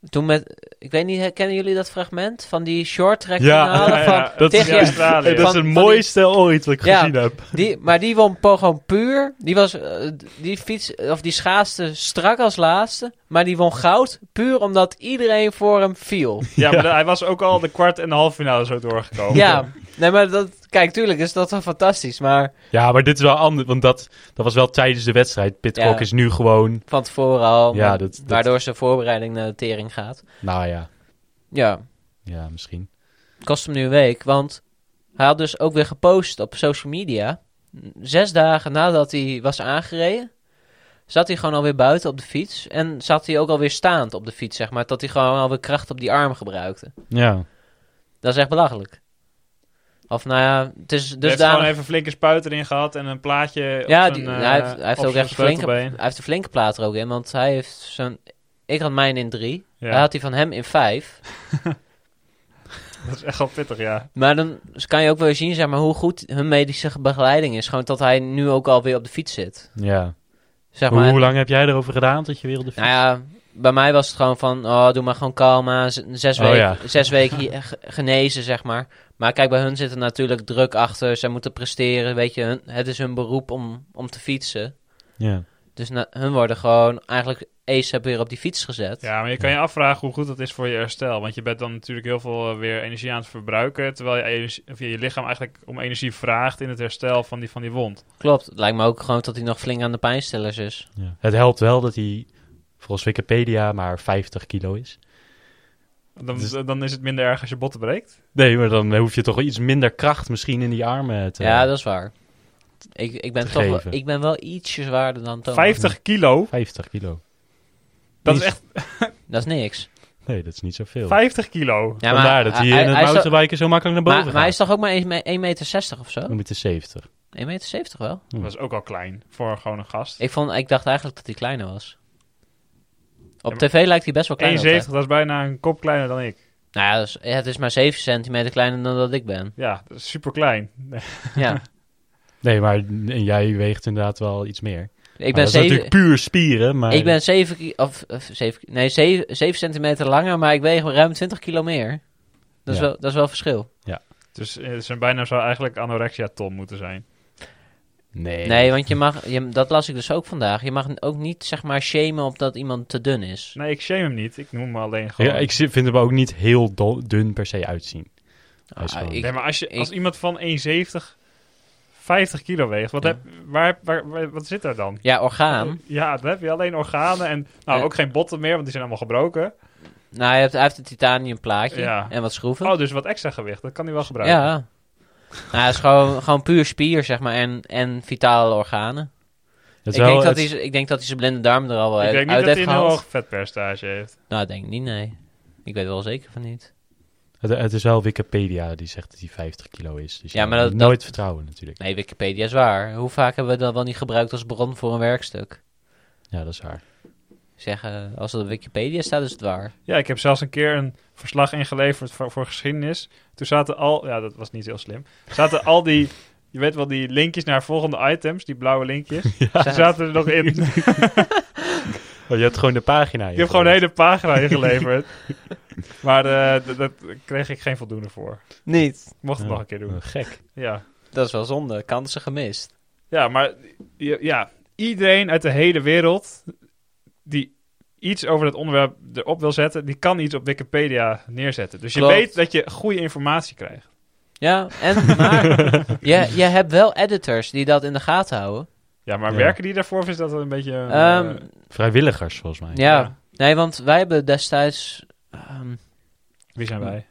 Speaker 3: Toen met, ik weet niet, kennen jullie dat fragment van die short track
Speaker 2: Ja,
Speaker 3: finale
Speaker 1: ja,
Speaker 3: van
Speaker 1: ja, dat
Speaker 3: Tig
Speaker 1: is
Speaker 3: jaar-
Speaker 1: Australië.
Speaker 2: Hey, dat is
Speaker 3: van-
Speaker 2: het
Speaker 3: van die-
Speaker 2: mooiste ooit wat ik
Speaker 3: Ja.
Speaker 2: gezien heb.
Speaker 3: Die, maar die won po- gewoon puur. Die, was, eh, die, fiets, of die schaatste strak als laatste. Maar die won goud puur omdat iedereen voor hem viel.
Speaker 1: Ja, maar hij was ook al de kwart en de halve finale zo
Speaker 2: Oh.
Speaker 1: doorgekomen.
Speaker 3: ja, nee, maar dat, kijk, tuurlijk is dat wel fantastisch. Maar
Speaker 2: Ja, maar dit is wel anders, want dat, dat was wel tijdens de wedstrijd. Pitcock
Speaker 3: Ja.
Speaker 2: is nu gewoon,
Speaker 3: van tevoren al.
Speaker 2: Ja,
Speaker 3: maar-
Speaker 2: dat- dat-
Speaker 3: Waardoor zijn voorbereiding naar de tering gaat.
Speaker 2: nou ja,
Speaker 3: Ja,
Speaker 2: ja misschien.
Speaker 3: het kost hem nu een week. Want hij had dus ook weer gepost op social media. Zes dagen nadat hij was aangereden. Zat hij gewoon alweer buiten op de fiets. En zat hij ook alweer staand op de fiets, zeg maar. Dat hij gewoon alweer kracht op die arm gebruikte.
Speaker 2: Ja,
Speaker 3: Dat is echt belachelijk. Of nou ja, het is
Speaker 1: Dus
Speaker 3: dus
Speaker 1: heeft
Speaker 3: daar.
Speaker 1: gewoon even flinke spuit erin gehad en een plaatje
Speaker 3: Ja,
Speaker 1: op
Speaker 3: die-
Speaker 1: zijn, eh,
Speaker 3: hij heeft- hij heeft
Speaker 1: op
Speaker 3: ook
Speaker 1: zijn
Speaker 3: echt flinke-
Speaker 1: sleutelbeen.
Speaker 3: Hij heeft een flinke plaat er ook in, want hij heeft zijn. Ik had mijn in drie.
Speaker 1: Ja,
Speaker 3: Hij had die van hem in vijf.
Speaker 1: dat is echt wel pittig, ja.
Speaker 3: Maar dan kan je ook wel zien, zeg maar, hoe goed hun medische begeleiding is. Gewoon dat hij nu ook alweer op de fiets zit.
Speaker 2: ja.
Speaker 3: Zeg
Speaker 2: Hoe,
Speaker 3: maar.
Speaker 2: hoe lang heb jij erover gedaan dat je weer op de fiets...
Speaker 3: Nou ja, bij mij was het gewoon van, oh, doe maar gewoon kalm aan. z- Zes,
Speaker 2: Oh
Speaker 3: weken,
Speaker 2: ja.
Speaker 3: zes weken hier- ge- genezen, zeg maar. Maar kijk, bij hun zit er natuurlijk druk achter. Zij moeten presteren, weet je. hun- het is hun beroep om, om te fietsen.
Speaker 2: Ja.
Speaker 3: Dus na- hun worden gewoon eigenlijk ASAP weer op die fiets gezet.
Speaker 1: Ja, maar je kan je afvragen hoe goed dat is voor je herstel. Want je bent dan natuurlijk heel veel eh, weer energie aan het verbruiken. Terwijl je, energie- of je, je lichaam eigenlijk om energie vraagt in het herstel van die, van die wond.
Speaker 3: Klopt. Het lijkt me ook gewoon dat hij nog flink aan de pijnstillers is.
Speaker 2: Ja. Het helpt wel dat hij, volgens Wikipedia, maar 50 kilo is.
Speaker 1: Dan,
Speaker 2: Dus-
Speaker 1: dan is het minder erg als je botten breekt.
Speaker 2: Nee, maar dan hoef je toch iets minder kracht misschien in die armen te...
Speaker 3: ja, dat is waar. Ik, ik, ben
Speaker 2: te
Speaker 3: toch wel,
Speaker 2: geven.
Speaker 3: ik ben wel ietsje zwaarder dan Thomas.
Speaker 1: 50 kilo,
Speaker 2: 50 kilo.
Speaker 1: dat is
Speaker 2: Niet-
Speaker 1: echt
Speaker 3: Dat is niks.
Speaker 2: Nee, dat is niet zoveel.
Speaker 1: 50 kilo.
Speaker 3: Ja,
Speaker 2: Vandaar dat hij in het
Speaker 3: hij is toch-
Speaker 2: mountainbiken zo makkelijk naar
Speaker 3: maar,
Speaker 2: boven
Speaker 3: maar hij is
Speaker 2: gaat.
Speaker 3: toch ook maar 1,60 meter 60 of zo? 1,70
Speaker 2: Dan moet hij 70.
Speaker 3: meter 70 wel?
Speaker 2: Hm.
Speaker 1: Dat is ook al klein voor gewoon een gast.
Speaker 3: Ik, vond, ik dacht eigenlijk dat hij kleiner was. Op
Speaker 1: Ja, maar-
Speaker 3: tv lijkt hij best wel kleiner. op, hè?
Speaker 1: 1,70, dat is bijna een kop kleiner dan ik.
Speaker 3: Nou ja, dat is- ja, het is maar 7 centimeter kleiner dan dat ik ben.
Speaker 1: Ja, dat is super klein.
Speaker 3: Ja.
Speaker 2: Nee, maar en jij weegt inderdaad wel iets meer.
Speaker 3: Ik
Speaker 2: Maar
Speaker 3: ben
Speaker 2: dat is
Speaker 3: 7
Speaker 2: natuurlijk puur spieren, maar...
Speaker 3: Ik ben 7 ki- of, of zeven ki- nee, 7, centimeter langer, maar ik weeg ruim 20 kilo meer. Dat is,
Speaker 2: Ja.
Speaker 3: wel, dat is wel verschil.
Speaker 1: Dus eh, zijn bijna zou eigenlijk anorexia ton moeten zijn.
Speaker 2: Nee.
Speaker 3: Nee, want je mag, je, dat las ik dus ook vandaag. Je mag ook niet, zeg maar, shamen op dat iemand te dun is.
Speaker 1: Nee, ik shame hem niet. Ik noem hem alleen gewoon.
Speaker 2: Ja, ik zi- vind hem ook niet heel do- dun per se uitzien. Hij is
Speaker 3: Ah,
Speaker 2: gewoon-
Speaker 3: ik-
Speaker 1: nee, maar als, je,
Speaker 3: ik-
Speaker 1: als iemand van 1,70 50 kilo weegt, wat,
Speaker 3: Ja.
Speaker 1: heb, waar, waar, waar- wat zit daar dan?
Speaker 3: Ja, orgaan.
Speaker 1: Ja, dan heb je alleen organen en nou,
Speaker 3: Ja.
Speaker 1: ook geen botten meer, want die zijn allemaal gebroken.
Speaker 3: Nou, hij heeft, hij heeft een titanium plaatje
Speaker 1: Ja.
Speaker 3: en wat schroeven.
Speaker 1: Oh, dus wat extra gewicht, dat kan hij wel gebruiken.
Speaker 3: ja. Nou, het is gewoon, gewoon puur spier, zeg maar, en, en vitale organen.
Speaker 2: Het
Speaker 3: Ik,
Speaker 2: is wel-
Speaker 3: denk dat
Speaker 2: het
Speaker 3: hij,
Speaker 2: is-
Speaker 3: z- ik denk dat hij zijn blinde darm er al wel
Speaker 1: Ik
Speaker 3: uit,
Speaker 1: denk niet
Speaker 3: uit
Speaker 1: dat hij
Speaker 3: heeft
Speaker 1: een heel
Speaker 3: gehaald.
Speaker 1: hoog vetpercentage heeft.
Speaker 3: Nou, ik denk niet, nee. Ik weet wel zeker van niet.
Speaker 2: Het, het is wel Wikipedia die zegt dat hij 50 kilo is. Dus
Speaker 3: Ja,
Speaker 2: ja,
Speaker 3: maar
Speaker 2: maar
Speaker 3: dat-
Speaker 2: nooit vertrouwen natuurlijk.
Speaker 3: Nee, Wikipedia is waar. Hoe vaak hebben we dat wel niet gebruikt als bron voor een werkstuk?
Speaker 2: Ja, dat is waar.
Speaker 3: Zeggen, als het op Wikipedia staat, is het waar.
Speaker 1: Ja, ik heb zelfs een keer een verslag ingeleverd voor, voor geschiedenis. Toen zaten al, ja, dat was niet heel slim. Zaten al die, je weet wel, die linkjes naar volgende items, die blauwe linkjes. Die zaten er nog in. Je
Speaker 2: Oh, je hebt gewoon de pagina. Je
Speaker 1: hebt gewoon een hele pagina ingeleverd. Maar eh, d- dat kreeg ik geen voldoende voor.
Speaker 3: Niet.
Speaker 1: Ik mocht het nog een keer doen.
Speaker 2: Oh, Gek.
Speaker 1: Ja,
Speaker 3: Dat is wel zonde. Kansen gemist.
Speaker 1: ja maar je- ja, iedereen uit de hele wereld die iets over dat onderwerp erop wil zetten, die kan iets op Wikipedia neerzetten. Dus je
Speaker 3: Klopt.
Speaker 1: weet dat je goede informatie krijgt.
Speaker 3: Ja, en maar je, je hebt wel editors die dat in de gaten houden.
Speaker 1: Ja, maar
Speaker 2: Ja.
Speaker 1: werken die daarvoor of is dat een beetje... eh,
Speaker 3: Ehm,
Speaker 2: Vrijwilligers, volgens mij.
Speaker 3: ja.
Speaker 1: ja.
Speaker 3: nee, want wij hebben destijds, ehm,
Speaker 1: wie zijn wij?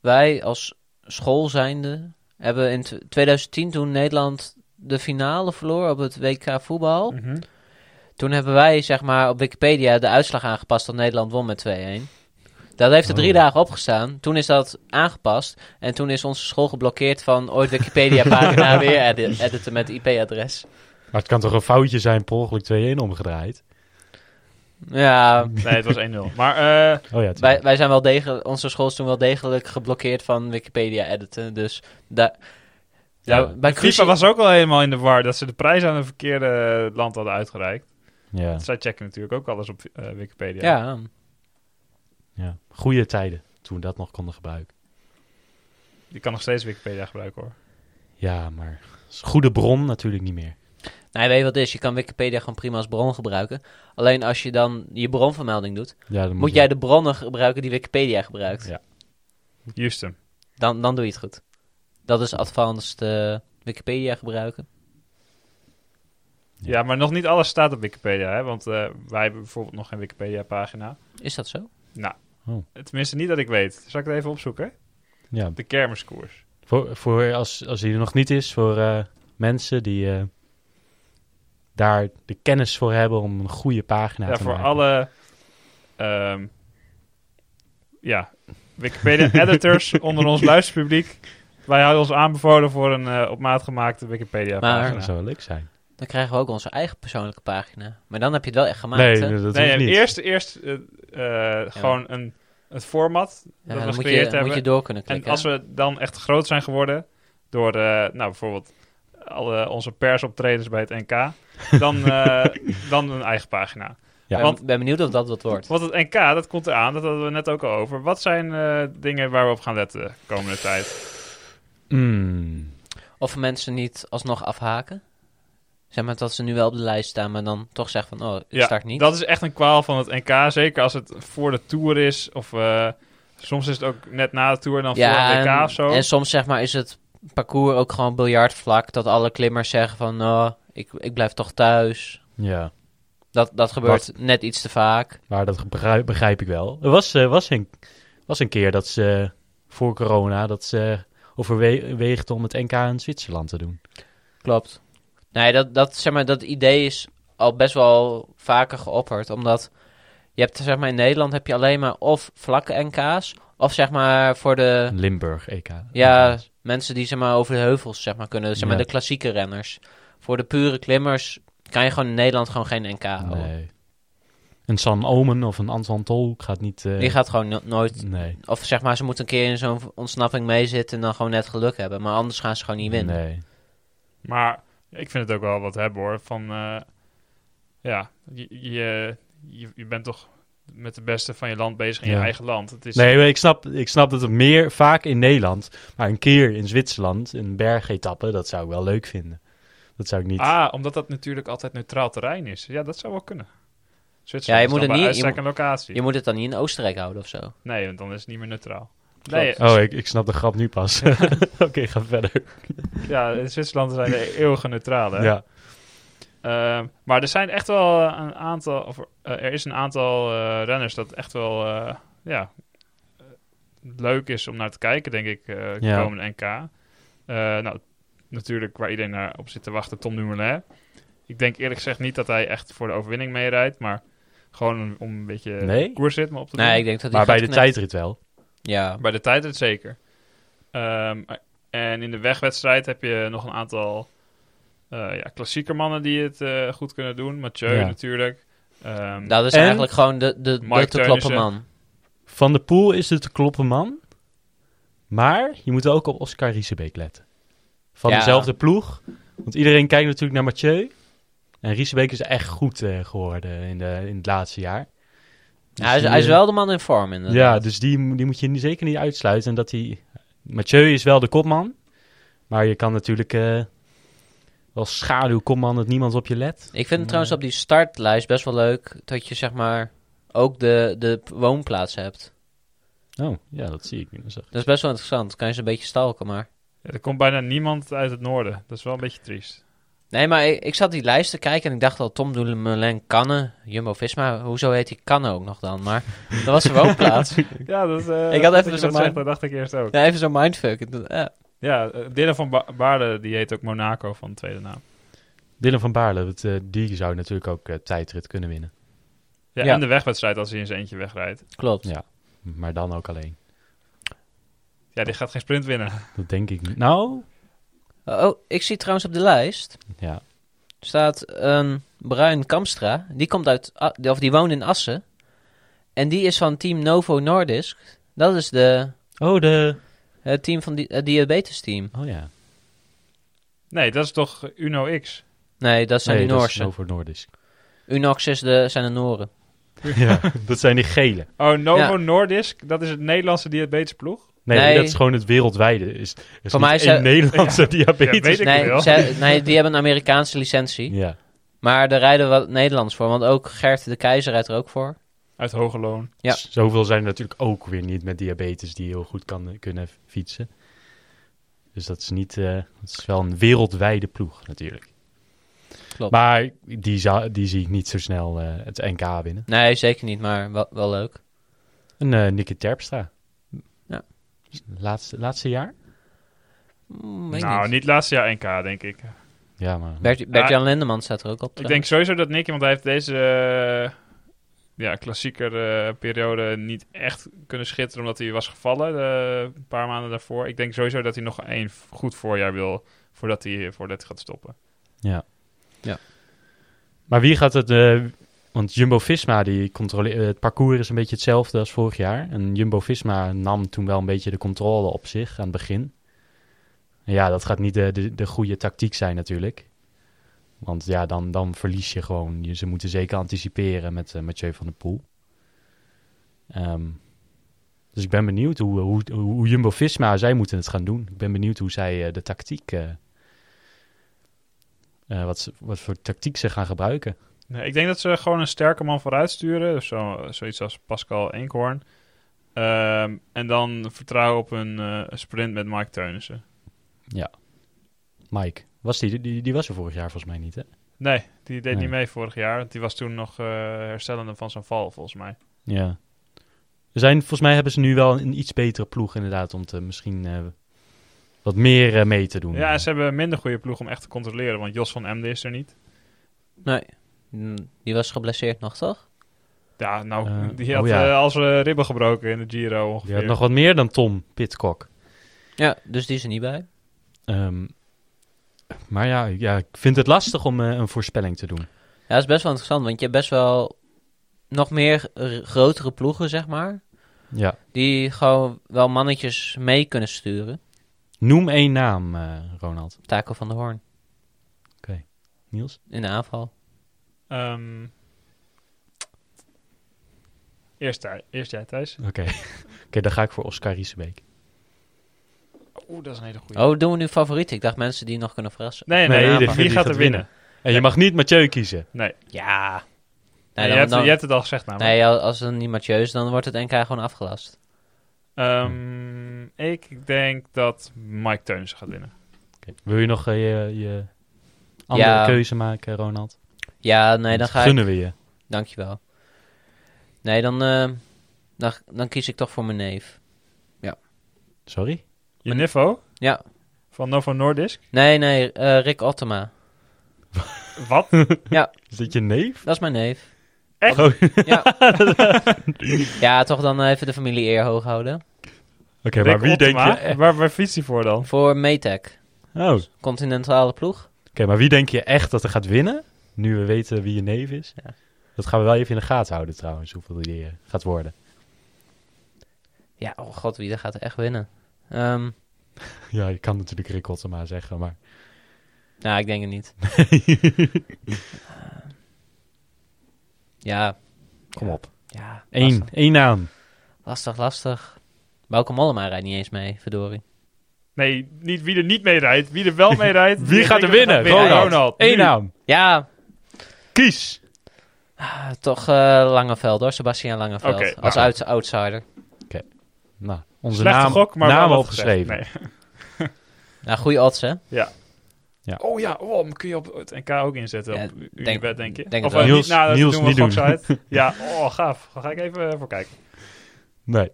Speaker 3: wij als school zijnde, hebben in tw- 2010 toen Nederland de finale verloor op het WK voetbal.
Speaker 1: Mhm.
Speaker 3: Toen hebben wij zeg maar op Wikipedia de uitslag aangepast dat Nederland won met 2-1. Dat heeft er drie
Speaker 2: Oh.
Speaker 3: dagen opgestaan. Toen is dat aangepast. En toen is onze school geblokkeerd van ooit Wikipedia-pagina weer edi- editen met IP-adres.
Speaker 2: Maar het kan toch een foutje zijn, per ongeluk 2-1 omgedraaid?
Speaker 3: Ja,
Speaker 1: Nee, het was 1-0. Maar eh,
Speaker 2: Oh ja,
Speaker 3: wij,
Speaker 2: tuurlijk.
Speaker 3: wij zijn wel degelijk, onze school is toen wel degelijk geblokkeerd van Wikipedia-editen. Dus daar.
Speaker 2: Ja,
Speaker 3: daar- bij
Speaker 1: FIFA
Speaker 3: Cruci-
Speaker 1: was ook al helemaal in de war dat ze de prijs aan een verkeerde eh, land hadden uitgereikt.
Speaker 2: ja,
Speaker 1: Zij checken natuurlijk ook alles op eh, Wikipedia.
Speaker 3: Ja,
Speaker 2: ja. Goede tijden, toen we dat nog konden gebruiken.
Speaker 1: Je kan nog steeds Wikipedia gebruiken hoor.
Speaker 2: Ja, maar is een goede bron natuurlijk niet meer.
Speaker 3: nee, weet je wat het is? Je kan Wikipedia gewoon prima als bron gebruiken. Alleen als je dan je bronvermelding doet,
Speaker 2: Ja, dan
Speaker 3: moet jij de bronnen gebruiken die Wikipedia gebruikt.
Speaker 2: Ja.
Speaker 1: Houston.
Speaker 3: Dan, dan doe je het goed. Dat is advanced eh, Wikipedia gebruiken.
Speaker 1: Ja. maar nog niet alles staat op Wikipedia, hè? want eh, wij hebben bijvoorbeeld nog geen Wikipedia-pagina.
Speaker 3: Is dat zo?
Speaker 1: Tenminste, niet dat ik weet. Zal ik het even opzoeken?
Speaker 2: Ja,
Speaker 1: De kermiskoers.
Speaker 2: voor, voor als, als die er nog niet is, voor eh, mensen die eh, daar de kennis voor hebben om een goede pagina
Speaker 1: Ja,
Speaker 2: te
Speaker 1: voor
Speaker 2: maken.
Speaker 1: alle... ehm, ja, Wikipedia-editors onder ons luisterpubliek. Wij houden ons aanbevolen voor een eh, op maat gemaakte
Speaker 2: Ja,
Speaker 1: Wikipedia-pagina.
Speaker 2: Dat zou wel leuk zijn.
Speaker 3: Dan krijgen we ook onze eigen persoonlijke pagina. Maar dan heb je het eh, wel echt gemaakt.
Speaker 2: nee,
Speaker 3: hè?
Speaker 2: dat hoeft
Speaker 1: nee, ja,
Speaker 2: niet.
Speaker 1: eerst, eerst eh, eh, gewoon een, het format
Speaker 3: Ja,
Speaker 1: dat we
Speaker 3: dan moet
Speaker 1: gecreëerd
Speaker 3: je, moet
Speaker 1: hebben.
Speaker 3: je door kunnen
Speaker 1: en
Speaker 3: klikken.
Speaker 1: als we dan echt groot zijn geworden door eh, nou, bijvoorbeeld alle onze persoptredens bij het NK, dan, eh, dan een eigen pagina.
Speaker 3: hè?
Speaker 2: Ja.
Speaker 3: Ik
Speaker 1: want-
Speaker 3: ben- ben benieuwd of dat wat wordt.
Speaker 1: Want het NK, dat komt eraan, dat hadden we net ook al over. Wat zijn eh, dingen waar we op gaan letten de komende tijd?
Speaker 2: Mm,
Speaker 3: Of mensen niet alsnog afhaken. Zeg maar dat ze nu wel op de lijst staan, maar dan toch zeggen van, oh, ik start niet.
Speaker 1: dat is echt een kwaal van het NK, zeker als het voor de Tour is of... eh, Soms is het ook net na de tour en dan voor het NK
Speaker 3: en,
Speaker 1: of zo.
Speaker 3: en soms zeg maar is het parcours ook gewoon biljartvlak. Dat alle klimmers zeggen van, oh, ik, ik blijf toch thuis.
Speaker 2: ja.
Speaker 3: Dat, dat gebeurt net iets te vaak.
Speaker 2: Maar dat begrijp, begrijp ik wel. Er was, eh, was, een, was een keer dat ze eh, voor corona dat ze overweegden om het NK in Zwitserland te doen.
Speaker 3: Klopt. Nee, dat, dat, zeg maar, dat idee is al best wel vaker geopperd. Omdat je hebt, zeg maar, in Nederland heb je alleen maar of vlakke NK's. Of zeg maar voor de
Speaker 2: Limburg EK.
Speaker 3: ja, mensen die zeg maar, over de heuvels zeg maar, kunnen. Zeg maar
Speaker 2: Ja.
Speaker 3: de klassieke renners. Voor de pure klimmers kan je gewoon in Nederland gewoon geen NK houden.
Speaker 2: Nee. Een San Omen of een Anton Tol gaat niet. eh,
Speaker 3: Die gaat gewoon no- nooit...
Speaker 2: Nee.
Speaker 3: Of zeg maar, ze moeten een keer in zo'n ontsnapping meezitten en dan gewoon net geluk hebben. Maar anders gaan ze gewoon niet winnen.
Speaker 2: Nee.
Speaker 1: Maar ik vind het ook wel wat hebben hoor. Van eh, ja, je, je, je- je bent toch met de beste van je land bezig in je
Speaker 2: Ja.
Speaker 1: eigen land. Het is,
Speaker 2: Nee, maar ik snap, ik snap dat het meer vaak in Nederland, maar een keer in Zwitserland, een bergetappe, dat zou ik wel leuk vinden. Dat zou ik niet.
Speaker 1: Ah, omdat dat natuurlijk altijd neutraal terrein is. Ja, dat zou wel kunnen. Zwitserland
Speaker 3: Ja, je
Speaker 1: is
Speaker 3: moet
Speaker 1: dan
Speaker 3: er
Speaker 1: bij
Speaker 3: niet- je
Speaker 1: uitstek een locatie.
Speaker 3: Je moet het dan niet in Oostenrijk houden of zo.
Speaker 1: Nee, want dan is het niet meer neutraal. Nee,
Speaker 2: Oh, ik, ik snap de grap nu pas. Oké, ga verder.
Speaker 1: ja, in Zwitserland zijn de eeuwige neutrale. hè.
Speaker 2: Ja.
Speaker 1: Ehm, maar er zijn echt wel eh, een aantal, of eh, er is een aantal eh, renners dat echt wel, eh, ja, eh, leuk is om naar te kijken, denk ik, eh de
Speaker 2: Ja.
Speaker 1: komende NK. Eh, nou, natuurlijk waar iedereen naar op zit te wachten, Tom Dumoulin. Ik denk eerlijk gezegd niet dat hij echt voor de overwinning meerijdt, maar gewoon om, om een beetje
Speaker 2: Nee?
Speaker 1: koersritme op te doen.
Speaker 3: Nee, ik denk dat die
Speaker 2: Maar bij de
Speaker 3: gaat knekken.
Speaker 2: tijdrit wel.
Speaker 3: Ja,
Speaker 1: Bij de tijdrit zeker. Ehm, en in de wegwedstrijd heb je nog een aantal eh ja, klassieker mannen die het eh, goed kunnen doen. Mathieu
Speaker 2: Ja.
Speaker 1: natuurlijk. Ehm,
Speaker 3: dat is
Speaker 2: En?
Speaker 3: eigenlijk gewoon de, de, de
Speaker 1: Mike
Speaker 3: te kloppen
Speaker 1: Teunissen.
Speaker 3: man.
Speaker 2: Van de Poel is het te kloppen man. Maar je moet ook op Oscar Riesebeek letten. Van
Speaker 3: Ja.
Speaker 2: dezelfde ploeg. Want iedereen kijkt natuurlijk naar Mathieu. En Riesebeek is echt goed eh, geworden in, de, in het laatste jaar. Dus
Speaker 3: Ja, hij, is,
Speaker 2: die,
Speaker 3: hij is
Speaker 2: eh,
Speaker 3: wel de man in vorm inderdaad.
Speaker 2: Ja, dus die, mo- die moet je ni- zeker niet uitsluiten. En dat hij... Mathieu is wel de kopman. Maar je kan natuurlijk eh wel schaduwkopman dat niemand op je let.
Speaker 3: Ik vind het trouwens op die startlijst best wel leuk dat je zeg maar ook de, de p- woonplaats hebt.
Speaker 2: Oh, ja, dat zie ik nu. Zo.
Speaker 3: Dat is best wel interessant. Kan je ze een beetje stalken, maar...
Speaker 1: ja, er komt bijna niemand uit het noorden. Dat is wel een beetje triest.
Speaker 3: Nee, maar ik, ik zat die lijst te kijken en ik dacht al, Tom Dumoulin, Canne, Jumbo-Visma, hoezo heet die Canne ook nog dan? Maar dat was zijn woonplaats.
Speaker 1: Ja, dat,
Speaker 3: Ik had dat even je dat zo'n zegt, mind-
Speaker 1: Dat
Speaker 3: dat
Speaker 1: dacht ik eerst ook.
Speaker 3: ja, even zo'n mindfuck. Ik dacht, Ja.
Speaker 1: Ja, eh, Dylan van ba Baarden die heet ook Monaco van de tweede naam.
Speaker 2: Dylan van Baarle, dat, eh, die zou natuurlijk ook eh, tijdrit kunnen winnen.
Speaker 1: Ja,
Speaker 3: Ja.
Speaker 1: En de wegwedstrijd als hij in zijn eentje wegrijdt.
Speaker 3: Klopt.
Speaker 2: Ja. Maar dan ook alleen.
Speaker 1: Ja, die gaat geen sprint winnen.
Speaker 2: Dat denk ik niet. Nou,
Speaker 3: Oh, ik zie trouwens op de lijst
Speaker 2: ja.
Speaker 3: staat een Bruin Kamstra. Die komt uit, A- of die woont in Assen. En die is van team Novo Nordisk. Dat is de,
Speaker 2: Oh, de...
Speaker 3: het team van die, het diabetes team.
Speaker 2: Oh ja.
Speaker 1: Nee, dat is toch Uno X?
Speaker 3: Nee, dat zijn
Speaker 2: Nee,
Speaker 3: de
Speaker 2: dat is
Speaker 3: Noorse.
Speaker 2: over Noordisk.
Speaker 3: Unox is de, zijn de Nooren.
Speaker 2: ja, dat zijn die gele.
Speaker 1: Oh, Novo
Speaker 3: Ja.
Speaker 1: Nordisk, dat is het Nederlandse diabetesploeg.
Speaker 2: Nee,
Speaker 3: Nee.
Speaker 2: dat is gewoon het wereldwijde. Is, is
Speaker 3: Voor
Speaker 2: niet
Speaker 3: mij is
Speaker 2: één
Speaker 3: hij-
Speaker 2: Nederlandse diabetes.
Speaker 1: Ja, weet ik wel.
Speaker 3: Nee, zij- nee, die hebben een Amerikaanse licentie.
Speaker 2: Ja.
Speaker 3: Maar daar rijden wat Nederlands voor. Want ook Gert de Keizer rijdt er ook voor.
Speaker 1: Uit Hoge Loon.
Speaker 3: Ja.
Speaker 2: Z- Zoveel zijn er natuurlijk ook weer niet met diabetes die heel goed kan, eh, kunnen fietsen. Dus dat is niet... eh dat is wel een wereldwijde ploeg natuurlijk.
Speaker 3: Klopt.
Speaker 2: Maar die, za- die zie ik niet zo snel eh, het NK winnen.
Speaker 3: Nee, zeker niet, maar wel, wel leuk.
Speaker 2: Een eh Nicky Terpstra.
Speaker 3: Ja.
Speaker 2: Laatste, laatste jaar?
Speaker 3: Mm, weet
Speaker 1: nou,
Speaker 3: niet.
Speaker 1: niet laatste jaar NK, denk ik.
Speaker 2: Ja, maar...
Speaker 3: Bert, jan Lindeman staat er ook op.
Speaker 1: Ik denk sowieso dat Nicky, want hij heeft deze eh, ja, klassieker eh, periode niet echt kunnen schitteren omdat hij was gevallen eh, een paar maanden daarvoor. Ik denk sowieso dat hij nog één f- goed voorjaar wil voordat hij, voordat hij gaat stoppen.
Speaker 2: Ja.
Speaker 3: Ja.
Speaker 2: Maar wie gaat het... eh, want Jumbo-Visma, die controle- eh, het parcours is een beetje hetzelfde als vorig jaar. En Jumbo-Visma nam toen wel een beetje de controle op zich aan het begin. En ja, dat gaat niet de, de, de goede tactiek zijn natuurlijk. Want ja, dan, dan verlies je gewoon. Je- Ze moeten zeker anticiperen met eh, Mathieu van der Poel. Ehm, dus ik ben benieuwd hoe, hoe, hoe, hoe Jumbo-Visma, zij moeten het gaan doen. Ik ben benieuwd hoe zij eh, de tactiek... eh, eh, wat, ze- wat voor tactiek ze gaan gebruiken.
Speaker 1: Nee, ik denk dat ze gewoon een sterke man vooruit sturen. Dus zo, zoiets als Pascal Eenkhoorn. Ehm, en dan vertrouwen op een eh, sprint met Mike Teunissen.
Speaker 2: Mike, was die, die, die was er vorig jaar volgens mij niet, hè?
Speaker 1: Nee, die deed
Speaker 2: Nee.
Speaker 1: niet mee vorig jaar. want Die was toen nog eh, herstellende van zijn val, volgens mij.
Speaker 2: Ja. Er zijn, volgens mij hebben ze nu wel een iets betere ploeg inderdaad om te misschien eh, wat meer eh, mee te doen.
Speaker 1: Ja, en ze hebben een minder goede ploeg om echt te controleren, want Jos van Emden is er niet.
Speaker 3: Nee, Mm, die was geblesseerd nog, toch?
Speaker 1: Ja, nou,
Speaker 2: Eh,
Speaker 1: die
Speaker 2: oh
Speaker 1: had
Speaker 2: ja.
Speaker 1: eh, al zijn ribben gebroken in de Giro
Speaker 2: Die
Speaker 1: ongeveer.
Speaker 2: had nog wat meer dan Tom Pitcock.
Speaker 3: Ja, dus die is er niet bij.
Speaker 2: Ehm, maar ja, ja, ik vind het lastig om eh, een voorspelling te doen.
Speaker 3: Ja, dat is best wel interessant, want je hebt best wel nog meer r- grotere ploegen, zeg maar.
Speaker 2: Ja.
Speaker 3: Die gewoon wel mannetjes mee kunnen sturen.
Speaker 2: Noem één naam, eh, Ronald.
Speaker 3: Taco van der Hoorn
Speaker 2: Niels?
Speaker 3: in de aanval.
Speaker 1: Ehm, eerst, Thij- eerst jij, Thijs.
Speaker 2: Oké. Oké, dan ga ik voor Oscar Riesebeek.
Speaker 1: Oeh, dat is een hele goede.
Speaker 3: Oh, doen we nu favorieten? Ik dacht mensen die nog kunnen verrassen.
Speaker 1: Nee,
Speaker 2: Nee,
Speaker 1: nee,
Speaker 2: dit-
Speaker 1: wie
Speaker 2: dit-
Speaker 1: gaat,
Speaker 2: dit gaat
Speaker 1: er winnen?
Speaker 2: En je mag niet Mathieu kiezen.
Speaker 1: Nee,
Speaker 3: Ja.
Speaker 1: Nee,
Speaker 3: Nee,
Speaker 1: je,
Speaker 3: dan,
Speaker 1: hebt,
Speaker 3: dan-
Speaker 1: je hebt het al gezegd namelijk.
Speaker 3: nee, als het niet Mathieu is, dan wordt het NK gewoon afgelast.
Speaker 1: Ehm, Ik denk dat Mike Teunissen gaat winnen.
Speaker 2: Oké. Wil je nog eh, je, je andere
Speaker 3: Ja.
Speaker 2: keuze maken, Ronald?
Speaker 3: Ja, nee, dan
Speaker 2: Want
Speaker 3: ga ik...
Speaker 2: gunnen we je.
Speaker 3: Dankjewel. Nee, dan, eh, dan, dan kies ik toch voor mijn neef.
Speaker 2: Sorry?
Speaker 1: Je Niffo
Speaker 3: Ja.
Speaker 1: van Novo Nordisk.
Speaker 3: Nee, nee, eh, Rick Ottema.
Speaker 1: Wat?
Speaker 2: Is dit je neef?
Speaker 3: Dat is mijn neef.
Speaker 1: Echt?
Speaker 2: Oh.
Speaker 3: Ja. ja, toch dan eh, even de familie eer hoog houden.
Speaker 2: Oké, maar wie denk je...
Speaker 1: je? Waar, waar fietst hij voor dan?
Speaker 3: Voor Metec,
Speaker 2: Oh. Oké,
Speaker 3: continentale ploeg.
Speaker 2: maar wie denk je echt dat er gaat winnen? Nu we weten wie je neef is.
Speaker 3: Ja.
Speaker 2: Dat gaan we wel even in de gaten houden trouwens, hoeveel die eh, gaat worden.
Speaker 3: Ja, oh god, wie daar gaat echt winnen? Ehm,
Speaker 2: Ja, je kan natuurlijk Rick Ottema zeggen, maar...
Speaker 3: nou, ik denk het niet. ja,
Speaker 2: Kom op.
Speaker 3: ja.
Speaker 2: Eén,
Speaker 3: Lastig,
Speaker 2: één naam.
Speaker 3: lastig. lastig. Bauke Mollema rijdt niet eens mee, verdorie.
Speaker 1: Nee, niet wie er niet mee rijdt. Wie er wel mee rijdt.
Speaker 2: Wie gaat er winnen? Ronald. Eén
Speaker 1: nu.
Speaker 2: naam.
Speaker 3: Ja,
Speaker 2: Kies.
Speaker 3: ah, toch eh, Langeveld hoor, Sebastian Langeveld.
Speaker 1: Oké,
Speaker 3: als
Speaker 1: nou.
Speaker 3: outs- outsider.
Speaker 2: Nou, onze
Speaker 1: Slechte
Speaker 2: naam,
Speaker 1: gok, maar wel
Speaker 2: naam
Speaker 1: wat
Speaker 2: opgeschreven.
Speaker 1: gezegd. Nee.
Speaker 3: Nou, goede odds hè.
Speaker 1: Oh ja, oh, maar kun je op het NK ook inzetten?
Speaker 3: Ja,
Speaker 1: op Unibet, denk je?
Speaker 3: denk
Speaker 1: of
Speaker 3: het wel.
Speaker 1: eh,
Speaker 2: Niels-
Speaker 1: niet, nou, dat
Speaker 2: Niels
Speaker 1: doen we
Speaker 2: niet
Speaker 1: gewoon
Speaker 2: doen.
Speaker 1: zo uit. Ja, oh, gaaf. Ga ik even eh, voor kijken.
Speaker 2: Nee.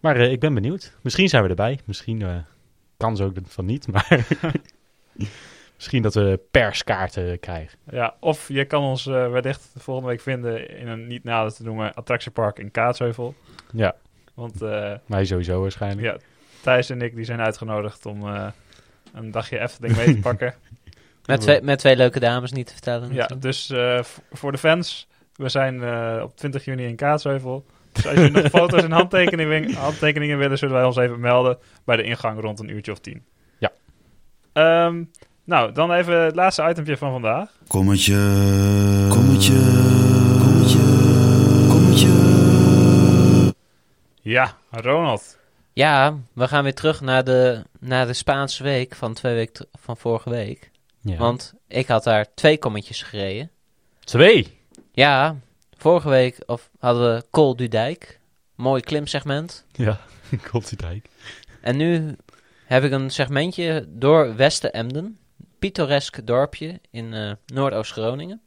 Speaker 2: Maar eh, ik ben benieuwd. Misschien zijn we erbij. Misschien eh, kan ze ook van niet, maar... Misschien dat we perskaarten krijgen.
Speaker 1: Ja, of je kan ons eh wellicht volgende week vinden in een niet nader te noemen attractiepark in Kaatsheuvel.
Speaker 2: Ja,
Speaker 1: Want eh,
Speaker 2: mij sowieso waarschijnlijk.
Speaker 1: Ja. Thijs en ik die zijn uitgenodigd om eh, een dagje Efteling mee te pakken.
Speaker 3: Met twee, met twee leuke dames niet te vertellen.
Speaker 1: ja, dus eh, v- voor de fans, we zijn eh, op 20 juni in Kaatsheuvel. Dus als je nog foto's en handtekeningen, handtekeningen willen, zullen wij ons even melden bij de ingang rond een uurtje of tien.
Speaker 2: Ja.
Speaker 1: Ehm, nou, dan even het laatste itempje van vandaag.
Speaker 6: Kommetje. Kommetje. Kommetje. Kommetje.
Speaker 1: Ja, Ronald.
Speaker 3: Ja, we gaan weer terug naar de, naar de Spaanse week van twee weken ter- van vorige week.
Speaker 2: Ja.
Speaker 3: Want ik had daar twee kommetjes gereden.
Speaker 2: Twee.
Speaker 3: Ja, vorige week of, hadden we Col du Dijk. Mooi klimsegment.
Speaker 2: Ja, komt die dijk.
Speaker 3: En nu heb ik een segmentje door Westen Emden. Pittoresk dorpje in eh, Noordoost-Groningen.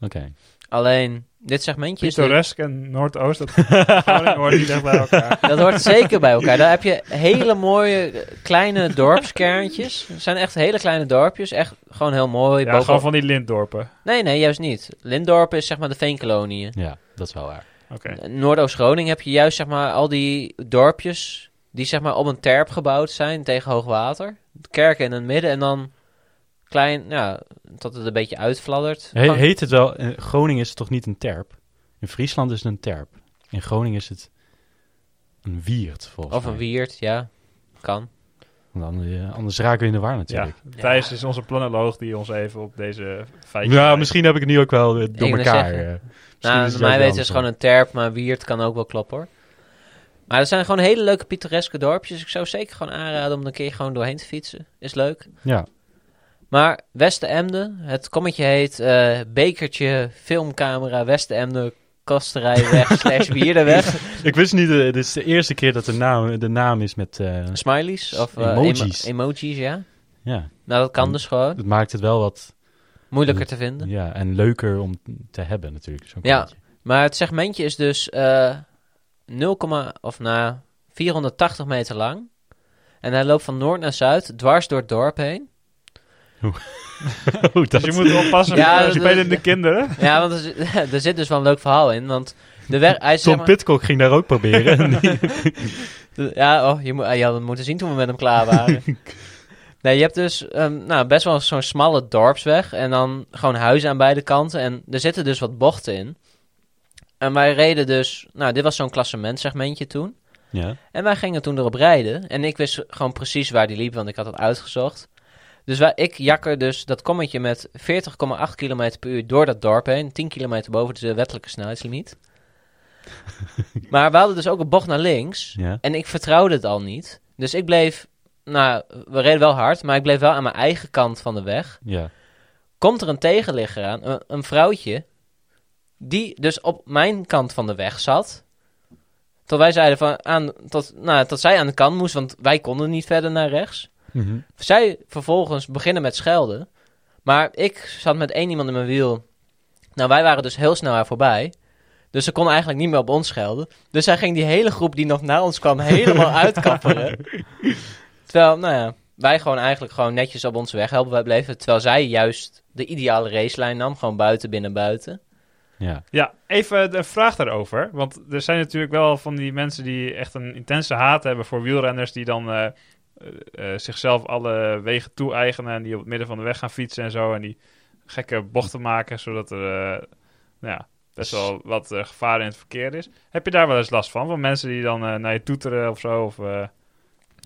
Speaker 2: Oké.
Speaker 3: Alleen, dit segmentje is... de-
Speaker 1: Pittoresk en Noordoost, dat Groningen hoort niet echt bij elkaar.
Speaker 3: Dat hoort zeker bij elkaar. Daar heb je hele mooie eh, kleine dorpskerntjes. Het zijn echt hele kleine dorpjes. Echt gewoon heel mooi.
Speaker 1: Ja,
Speaker 3: bovenop-
Speaker 1: gewoon van die lintdorpen.
Speaker 3: Nee, nee, juist niet. Lindorp is zeg maar de veenkoloniën.
Speaker 2: Ja, dat is wel waar.
Speaker 1: Oké.
Speaker 3: In Noordoost-Groningen heb je juist zeg maar al die dorpjes die zeg maar op een terp gebouwd zijn tegen hoog water. Kerken in het midden en dan klein, nou, tot het een beetje uitfladdert.
Speaker 2: He- heet het wel... In Groningen is het toch niet een terp? In Friesland is het een terp. In Groningen is het een wiert, volgens
Speaker 3: of een
Speaker 2: mij.
Speaker 3: wierd, ja. Kan.
Speaker 2: Want anders, eh, anders raken we in de war natuurlijk.
Speaker 1: Ja, Thijs is onze planoloog die ons even op deze feitjes...
Speaker 2: Ja,
Speaker 1: wijst.
Speaker 2: Nou, misschien heb ik het nu ook wel eh, door
Speaker 3: wil
Speaker 2: elkaar.
Speaker 3: zeggen.
Speaker 2: eh. Misschien
Speaker 3: Nou,
Speaker 2: is het
Speaker 3: bij
Speaker 2: ook
Speaker 3: mij
Speaker 2: wel
Speaker 3: weten is
Speaker 2: andersom.
Speaker 3: gewoon een terp, maar wierd kan ook wel kloppen hoor. Maar het zijn gewoon hele leuke pittoreske dorpjes. Ik zou zeker gewoon aanraden om er een keer gewoon doorheen te fietsen. Is leuk.
Speaker 2: Ja,
Speaker 3: Maar Westen-Emden, het kommetje heet eh, Bekertje Filmcamera Westen-Emden Kosterijweg slash Wierdenweg.
Speaker 2: ik wist niet, eh, dit is de eerste keer dat de naam, de naam is met... eh,
Speaker 3: Smileys of eh,
Speaker 2: Emojis.
Speaker 3: emo- emojis, ja.
Speaker 2: ja,
Speaker 3: Nou, dat kan dus gewoon.
Speaker 2: het maakt het wel wat...
Speaker 3: Moeilijker te vinden.
Speaker 2: Ja, en leuker om te hebben natuurlijk. zo'n
Speaker 3: Ja.
Speaker 2: kaartje.
Speaker 3: Maar het segmentje is dus eh 0, of na 480 meter lang. En hij loopt van noord naar zuid, dwars door het dorp heen.
Speaker 2: Goed, Oh, dat...
Speaker 1: Dus je moet oppassen
Speaker 3: Ja,
Speaker 1: met
Speaker 3: dat-
Speaker 1: spelende kinderen.
Speaker 3: Ja, want er, zit- er zit dus wel een leuk verhaal in. Want de weg, hij is zeg
Speaker 2: Tom
Speaker 3: maar-
Speaker 2: Pitcock ging daar ook proberen.
Speaker 3: De- Ja, oh, je, moet, je had het moeten zien toen we met hem klaar waren. nee, je hebt dus ehm, nou, best wel zo'n smalle dorpsweg. En dan gewoon huizen aan beide kanten. En er zitten dus wat bochten in. En wij reden dus... Nou, dit was zo'n klassementsegmentje toen.
Speaker 2: ja.
Speaker 3: En wij gingen toen erop rijden. En ik wist gewoon precies waar die liep, want ik had het uitgezocht. Dus wij, ik jakker dus dat kommetje met 40,8 km per uur door dat dorp heen. 10 kilometer boven de wettelijke snelheidslimiet. maar we hadden dus ook een bocht naar links.
Speaker 2: ja.
Speaker 3: En ik vertrouwde het al niet. Dus ik bleef... Nou, we reden wel hard, maar ik bleef wel aan mijn eigen kant van de weg.
Speaker 2: Ja.
Speaker 3: Komt er een tegenligger aan, een, een vrouwtje... die dus op mijn kant van de weg zat... Tot wij zeiden van aan, tot, nou, tot zij aan de kant moest, want wij konden niet verder naar rechts.
Speaker 2: Mhm.
Speaker 3: Zij vervolgens beginnen met schelden. Maar ik zat met één iemand in mijn wiel. Nou, wij waren dus heel snel haar voorbij. Dus ze kon eigenlijk niet meer op ons schelden. Dus zij ging die hele groep die nog naar ons kwam helemaal uitkapperen. Terwijl, nou ja, wij gewoon eigenlijk gewoon netjes op onze weg helpen. Wij bleven, terwijl zij juist de ideale racelijn nam. Gewoon buiten, binnen, buiten.
Speaker 2: Ja.
Speaker 1: Ja, even een vraag daarover. Want er zijn natuurlijk wel van die mensen die echt een intense haat hebben voor wielrenners. die dan eh, eh, eh, zichzelf alle wegen toe-eigenen. en die op het midden van de weg gaan fietsen en zo. en die gekke bochten maken zodat er eh, nou ja, best
Speaker 2: Dus-
Speaker 1: wel wat eh, gevaar in het verkeer is. Heb je daar wel eens last van? Van mensen die dan eh, naar je toeteren of zo? Of, eh,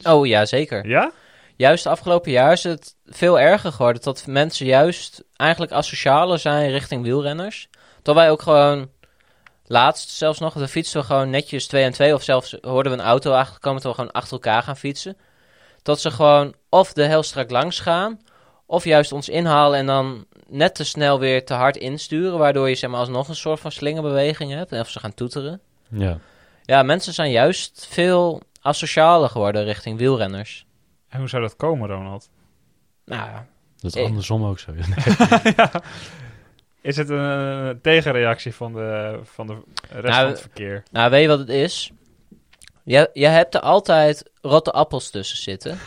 Speaker 3: Oh ja, zeker.
Speaker 1: ja?
Speaker 3: Juist de afgelopen jaar is het veel erger geworden. Dat mensen juist eigenlijk asocialer zijn richting wielrenners. Tot wij ook gewoon laatst zelfs nog, dan fietsen we gewoon netjes 2 en 2. Of zelfs hoorden we een auto achterkomen dat we gewoon achter elkaar gaan fietsen. Dat ze gewoon of er heel strak langs gaan. Of juist ons inhalen en dan net te snel weer te hard insturen. Waardoor je zeg maar alsnog een soort van slingerbeweging hebt. En of ze gaan toeteren.
Speaker 2: ja.
Speaker 3: Ja, mensen zijn juist veel asocialer geworden richting wielrenners.
Speaker 1: En hoe zou dat komen, Ronald?
Speaker 3: Nou ja,
Speaker 2: Dat is
Speaker 3: Ik-
Speaker 2: andersom ook zo. Nee.
Speaker 1: Is het een, eh, tegenreactie van de, van de rest
Speaker 3: Nou,
Speaker 1: van het verkeer?
Speaker 3: Nou, weet je wat het is? Je, je hebt er altijd rotte appels tussen zitten.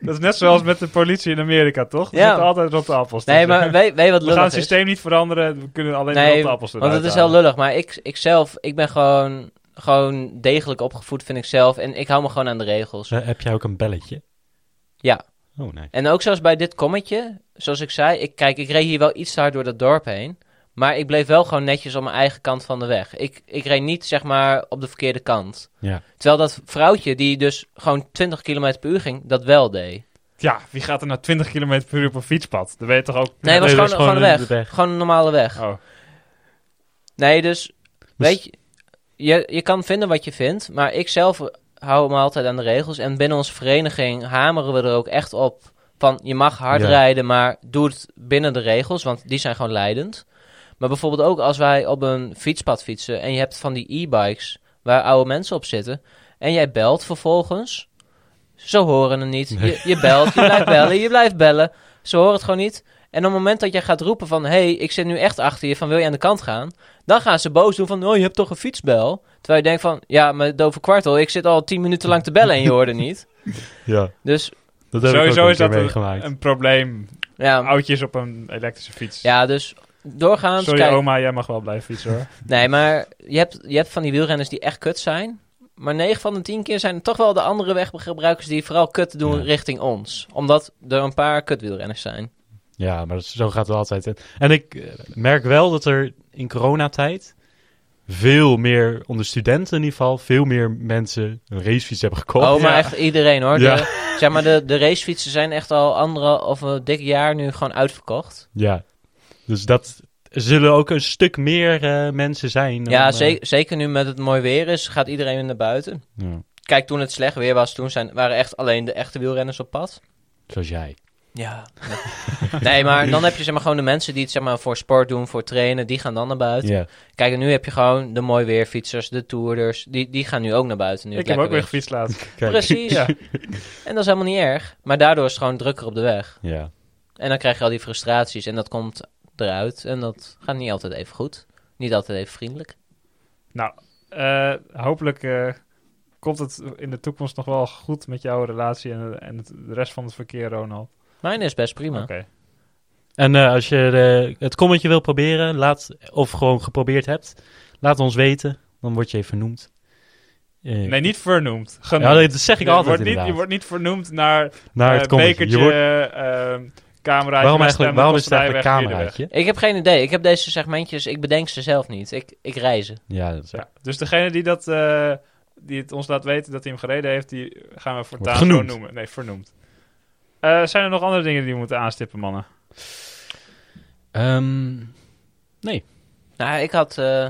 Speaker 1: Dat is net zoals met de politie in Amerika, toch? Er
Speaker 3: Ja.
Speaker 1: zitten altijd rotte appels
Speaker 3: Nee,
Speaker 1: tussen.
Speaker 3: maar weet, weet je wat
Speaker 1: We gaan
Speaker 3: lullig
Speaker 1: het
Speaker 3: is?
Speaker 1: systeem niet veranderen, we kunnen alleen de
Speaker 3: Nee,
Speaker 1: rotte appels
Speaker 3: want
Speaker 1: eruit
Speaker 3: het is heel
Speaker 1: halen.
Speaker 3: lullig. Maar ik, ik zelf, ik ben gewoon, gewoon degelijk opgevoed, vind ik zelf. En ik hou me gewoon aan de regels.
Speaker 2: Eh, Heb jij ook een belletje?
Speaker 3: Ja.
Speaker 2: Oh, nee.
Speaker 3: En ook zoals bij dit kommetje, zoals ik zei, ik, kijk, ik reed hier wel iets te hard door dat dorp heen. Maar ik bleef wel gewoon netjes op mijn eigen kant van de weg. Ik, ik reed niet, zeg maar, op de verkeerde kant.
Speaker 2: Ja.
Speaker 3: Terwijl dat vrouwtje, die dus gewoon 20 km per uur ging, dat wel deed.
Speaker 1: Ja, wie gaat er nou 20 km per uur op een fietspad? Dan weet je toch ook...
Speaker 3: Nee, het was
Speaker 2: Nee,
Speaker 3: gewoon,
Speaker 2: dat
Speaker 3: gewoon,
Speaker 2: is gewoon
Speaker 3: een
Speaker 2: de
Speaker 3: weg.
Speaker 2: weg.
Speaker 3: Gewoon een normale weg.
Speaker 1: Oh,
Speaker 3: Nee, dus, weet je, je, je kan vinden wat je vindt, maar ik zelf hou me altijd aan de regels. En binnen onze vereniging hameren we er ook echt op van je mag hard
Speaker 2: Ja.
Speaker 3: rijden, maar doe het binnen de regels, want die zijn gewoon leidend. Maar bijvoorbeeld ook als wij op een fietspad fietsen en je hebt van die e-bikes waar oude mensen op zitten en jij belt vervolgens, ze horen het niet. Je, je belt, je blijft bellen, je blijft bellen, ze horen het gewoon niet. En op het moment dat jij gaat roepen van, hé, hey, ik zit nu echt achter je, van wil je aan de kant gaan? Dan gaan ze boos doen van, oh, je hebt toch een fietsbel? Terwijl je denkt van, ja, maar dove kwartel, ik zit al tien minuten lang te bellen en je hoorde niet.
Speaker 2: Ja.
Speaker 3: Dus
Speaker 2: Dat heb ik ook
Speaker 1: sowieso
Speaker 2: een
Speaker 1: is
Speaker 2: keer
Speaker 1: dat een,
Speaker 2: meegemaakt.
Speaker 1: een probleem.
Speaker 3: ja,
Speaker 1: Oudjes op een elektrische fiets.
Speaker 3: ja dus doorgaans...
Speaker 1: Sorry
Speaker 3: kijk-
Speaker 1: oma, jij mag wel blijven fietsen hoor.
Speaker 3: Nee, maar je hebt, je hebt van die wielrenners die echt kut zijn. Maar 9 van de 10 keer zijn het toch wel de andere weggebruikers die vooral kut doen
Speaker 2: Ja.
Speaker 3: richting ons. Omdat er een paar kutwielrenners zijn.
Speaker 2: Ja, maar dat- zo gaat het altijd. En- En ik eh, merk wel dat er in coronatijd veel meer, onder studenten in ieder geval, veel meer mensen een racefiets hebben gekocht.
Speaker 3: oh, maar
Speaker 1: ja.
Speaker 3: echt iedereen hoor.
Speaker 2: Ja.
Speaker 3: De, zeg maar, de, de racefietsen zijn echt al andere of een dik jaar nu gewoon uitverkocht.
Speaker 2: Ja. Dus dat er zullen ook een stuk meer eh, mensen zijn. dan,
Speaker 3: ja,
Speaker 2: eh,
Speaker 3: ze- zeker nu met het mooi weer is, gaat iedereen weer naar buiten.
Speaker 2: ja,
Speaker 3: Kijk, toen het slecht weer was, toen zijn, waren echt alleen de echte wielrenners op pad.
Speaker 2: zoals jij.
Speaker 3: Ja. nee, maar dan heb je zeg maar, gewoon de mensen die het zeg maar, voor sport doen, voor trainen, die gaan dan naar buiten.
Speaker 2: Ja.
Speaker 3: Kijk, en nu heb je gewoon de mooi weerfietsers, de toerders. Die, die gaan nu ook naar buiten. Nu
Speaker 1: ik
Speaker 3: het
Speaker 1: heb ook
Speaker 3: lekker
Speaker 1: weer
Speaker 3: weer
Speaker 1: gefietst laatst.
Speaker 2: Kijk.
Speaker 3: is. Precies.
Speaker 1: Ja.
Speaker 3: En dat is helemaal niet erg. Maar daardoor is het gewoon drukker op de weg.
Speaker 2: Ja.
Speaker 3: En dan krijg je al die frustraties. En dat komt eruit. En dat gaat niet altijd even goed. Niet altijd even vriendelijk.
Speaker 1: Eh, hopelijk eh, komt het in de toekomst nog wel goed met jouw relatie en, en het, de rest van het verkeer, Ronald.
Speaker 3: Mijn is best prima.
Speaker 1: Oké.
Speaker 2: En eh, als je eh, het kommetje wil proberen, laat, of gewoon geprobeerd hebt, laat ons weten. Dan word je even vernoemd. Eh,
Speaker 1: Nee, niet vernoemd. Genoemd.
Speaker 2: Ja, dat zeg ik
Speaker 1: je,
Speaker 2: altijd
Speaker 1: wordt niet,
Speaker 2: inderdaad.
Speaker 1: je wordt niet vernoemd naar
Speaker 2: Naar
Speaker 1: eh,
Speaker 2: het kommetje. Je
Speaker 1: bekertje,
Speaker 2: wordt-
Speaker 1: ehm, cameraatje.
Speaker 2: waarom
Speaker 1: maar
Speaker 2: eigenlijk,
Speaker 1: stemmen
Speaker 2: waarom is
Speaker 1: kost
Speaker 2: het eigenlijk een
Speaker 1: wij weg, jullie
Speaker 2: cameraatje?
Speaker 3: Ik heb geen idee. Ik heb deze segmentjes. Ik bedenk ze zelf niet. Ik, ik rij ze.
Speaker 2: Ja, dat is
Speaker 1: weg. Ja. Dus degene die, dat, eh, die het ons laat weten dat hij hem gereden heeft, die gaan we voortaan
Speaker 2: genoemd.
Speaker 1: gewoon noemen. Nee, vernoemd. Eh, zijn er nog andere dingen die we moeten aanstippen, mannen?
Speaker 2: Ehm, nee.
Speaker 3: Nou, ik had, eh,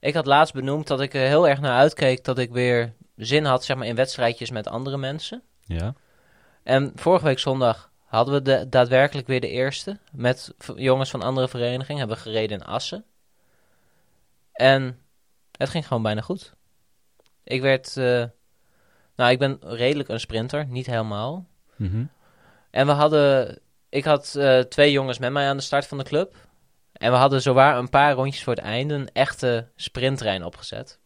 Speaker 3: ik had laatst benoemd dat ik er heel erg naar uitkeek. Dat ik weer zin had zeg maar, in wedstrijdjes met andere mensen.
Speaker 2: Ja.
Speaker 3: En vorige week zondag hadden we de, daadwerkelijk weer de eerste. Met v- jongens van andere vereniging. Hebben we gereden in Assen. En Het ging gewoon bijna goed. Ik werd... eh, nou, ik ben redelijk een sprinter. Niet helemaal.
Speaker 2: Mhm.
Speaker 3: En we hadden... Ik had eh, twee jongens met mij aan de start van de club. En we hadden zowaar een paar rondjes voor het einde een echte sprinttrein opgezet.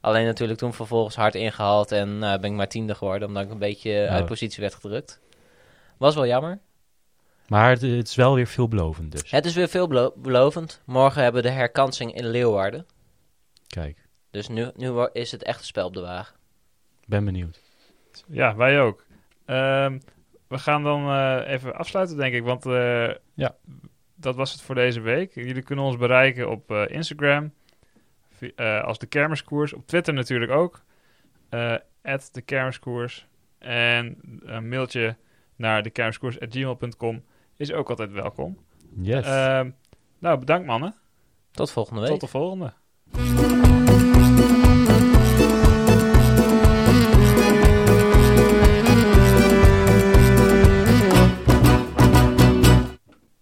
Speaker 3: Alleen natuurlijk toen vervolgens hard ingehaald en nou, ben ik maar tiende geworden... omdat ik een beetje
Speaker 2: Oh.
Speaker 3: uit positie werd gedrukt. Was wel jammer.
Speaker 2: Maar het, het is wel weer veelbelovend dus.
Speaker 3: Het is weer veelbelovend. Morgen hebben we de herkansing in Leeuwarden.
Speaker 2: Kijk,
Speaker 3: Dus nu, nu wo- is het echt een spel op de wagen.
Speaker 2: ben benieuwd.
Speaker 1: Ja, wij ook. Ehm, we gaan dan eh, even afsluiten, denk ik. Want eh,
Speaker 2: Ja.
Speaker 1: dat was het voor deze week. Jullie kunnen ons bereiken op eh, Instagram. vi- eh, als de kermiskoers. Op Twitter natuurlijk ook. eh at de kermiskoers. En een mailtje naar de kermiskoers.gmail.com is ook altijd welkom.
Speaker 2: Yes.
Speaker 1: Eh, Ehm, nou, bedankt mannen.
Speaker 3: Tot volgende week.
Speaker 1: Tot de volgende.
Speaker 6: Kom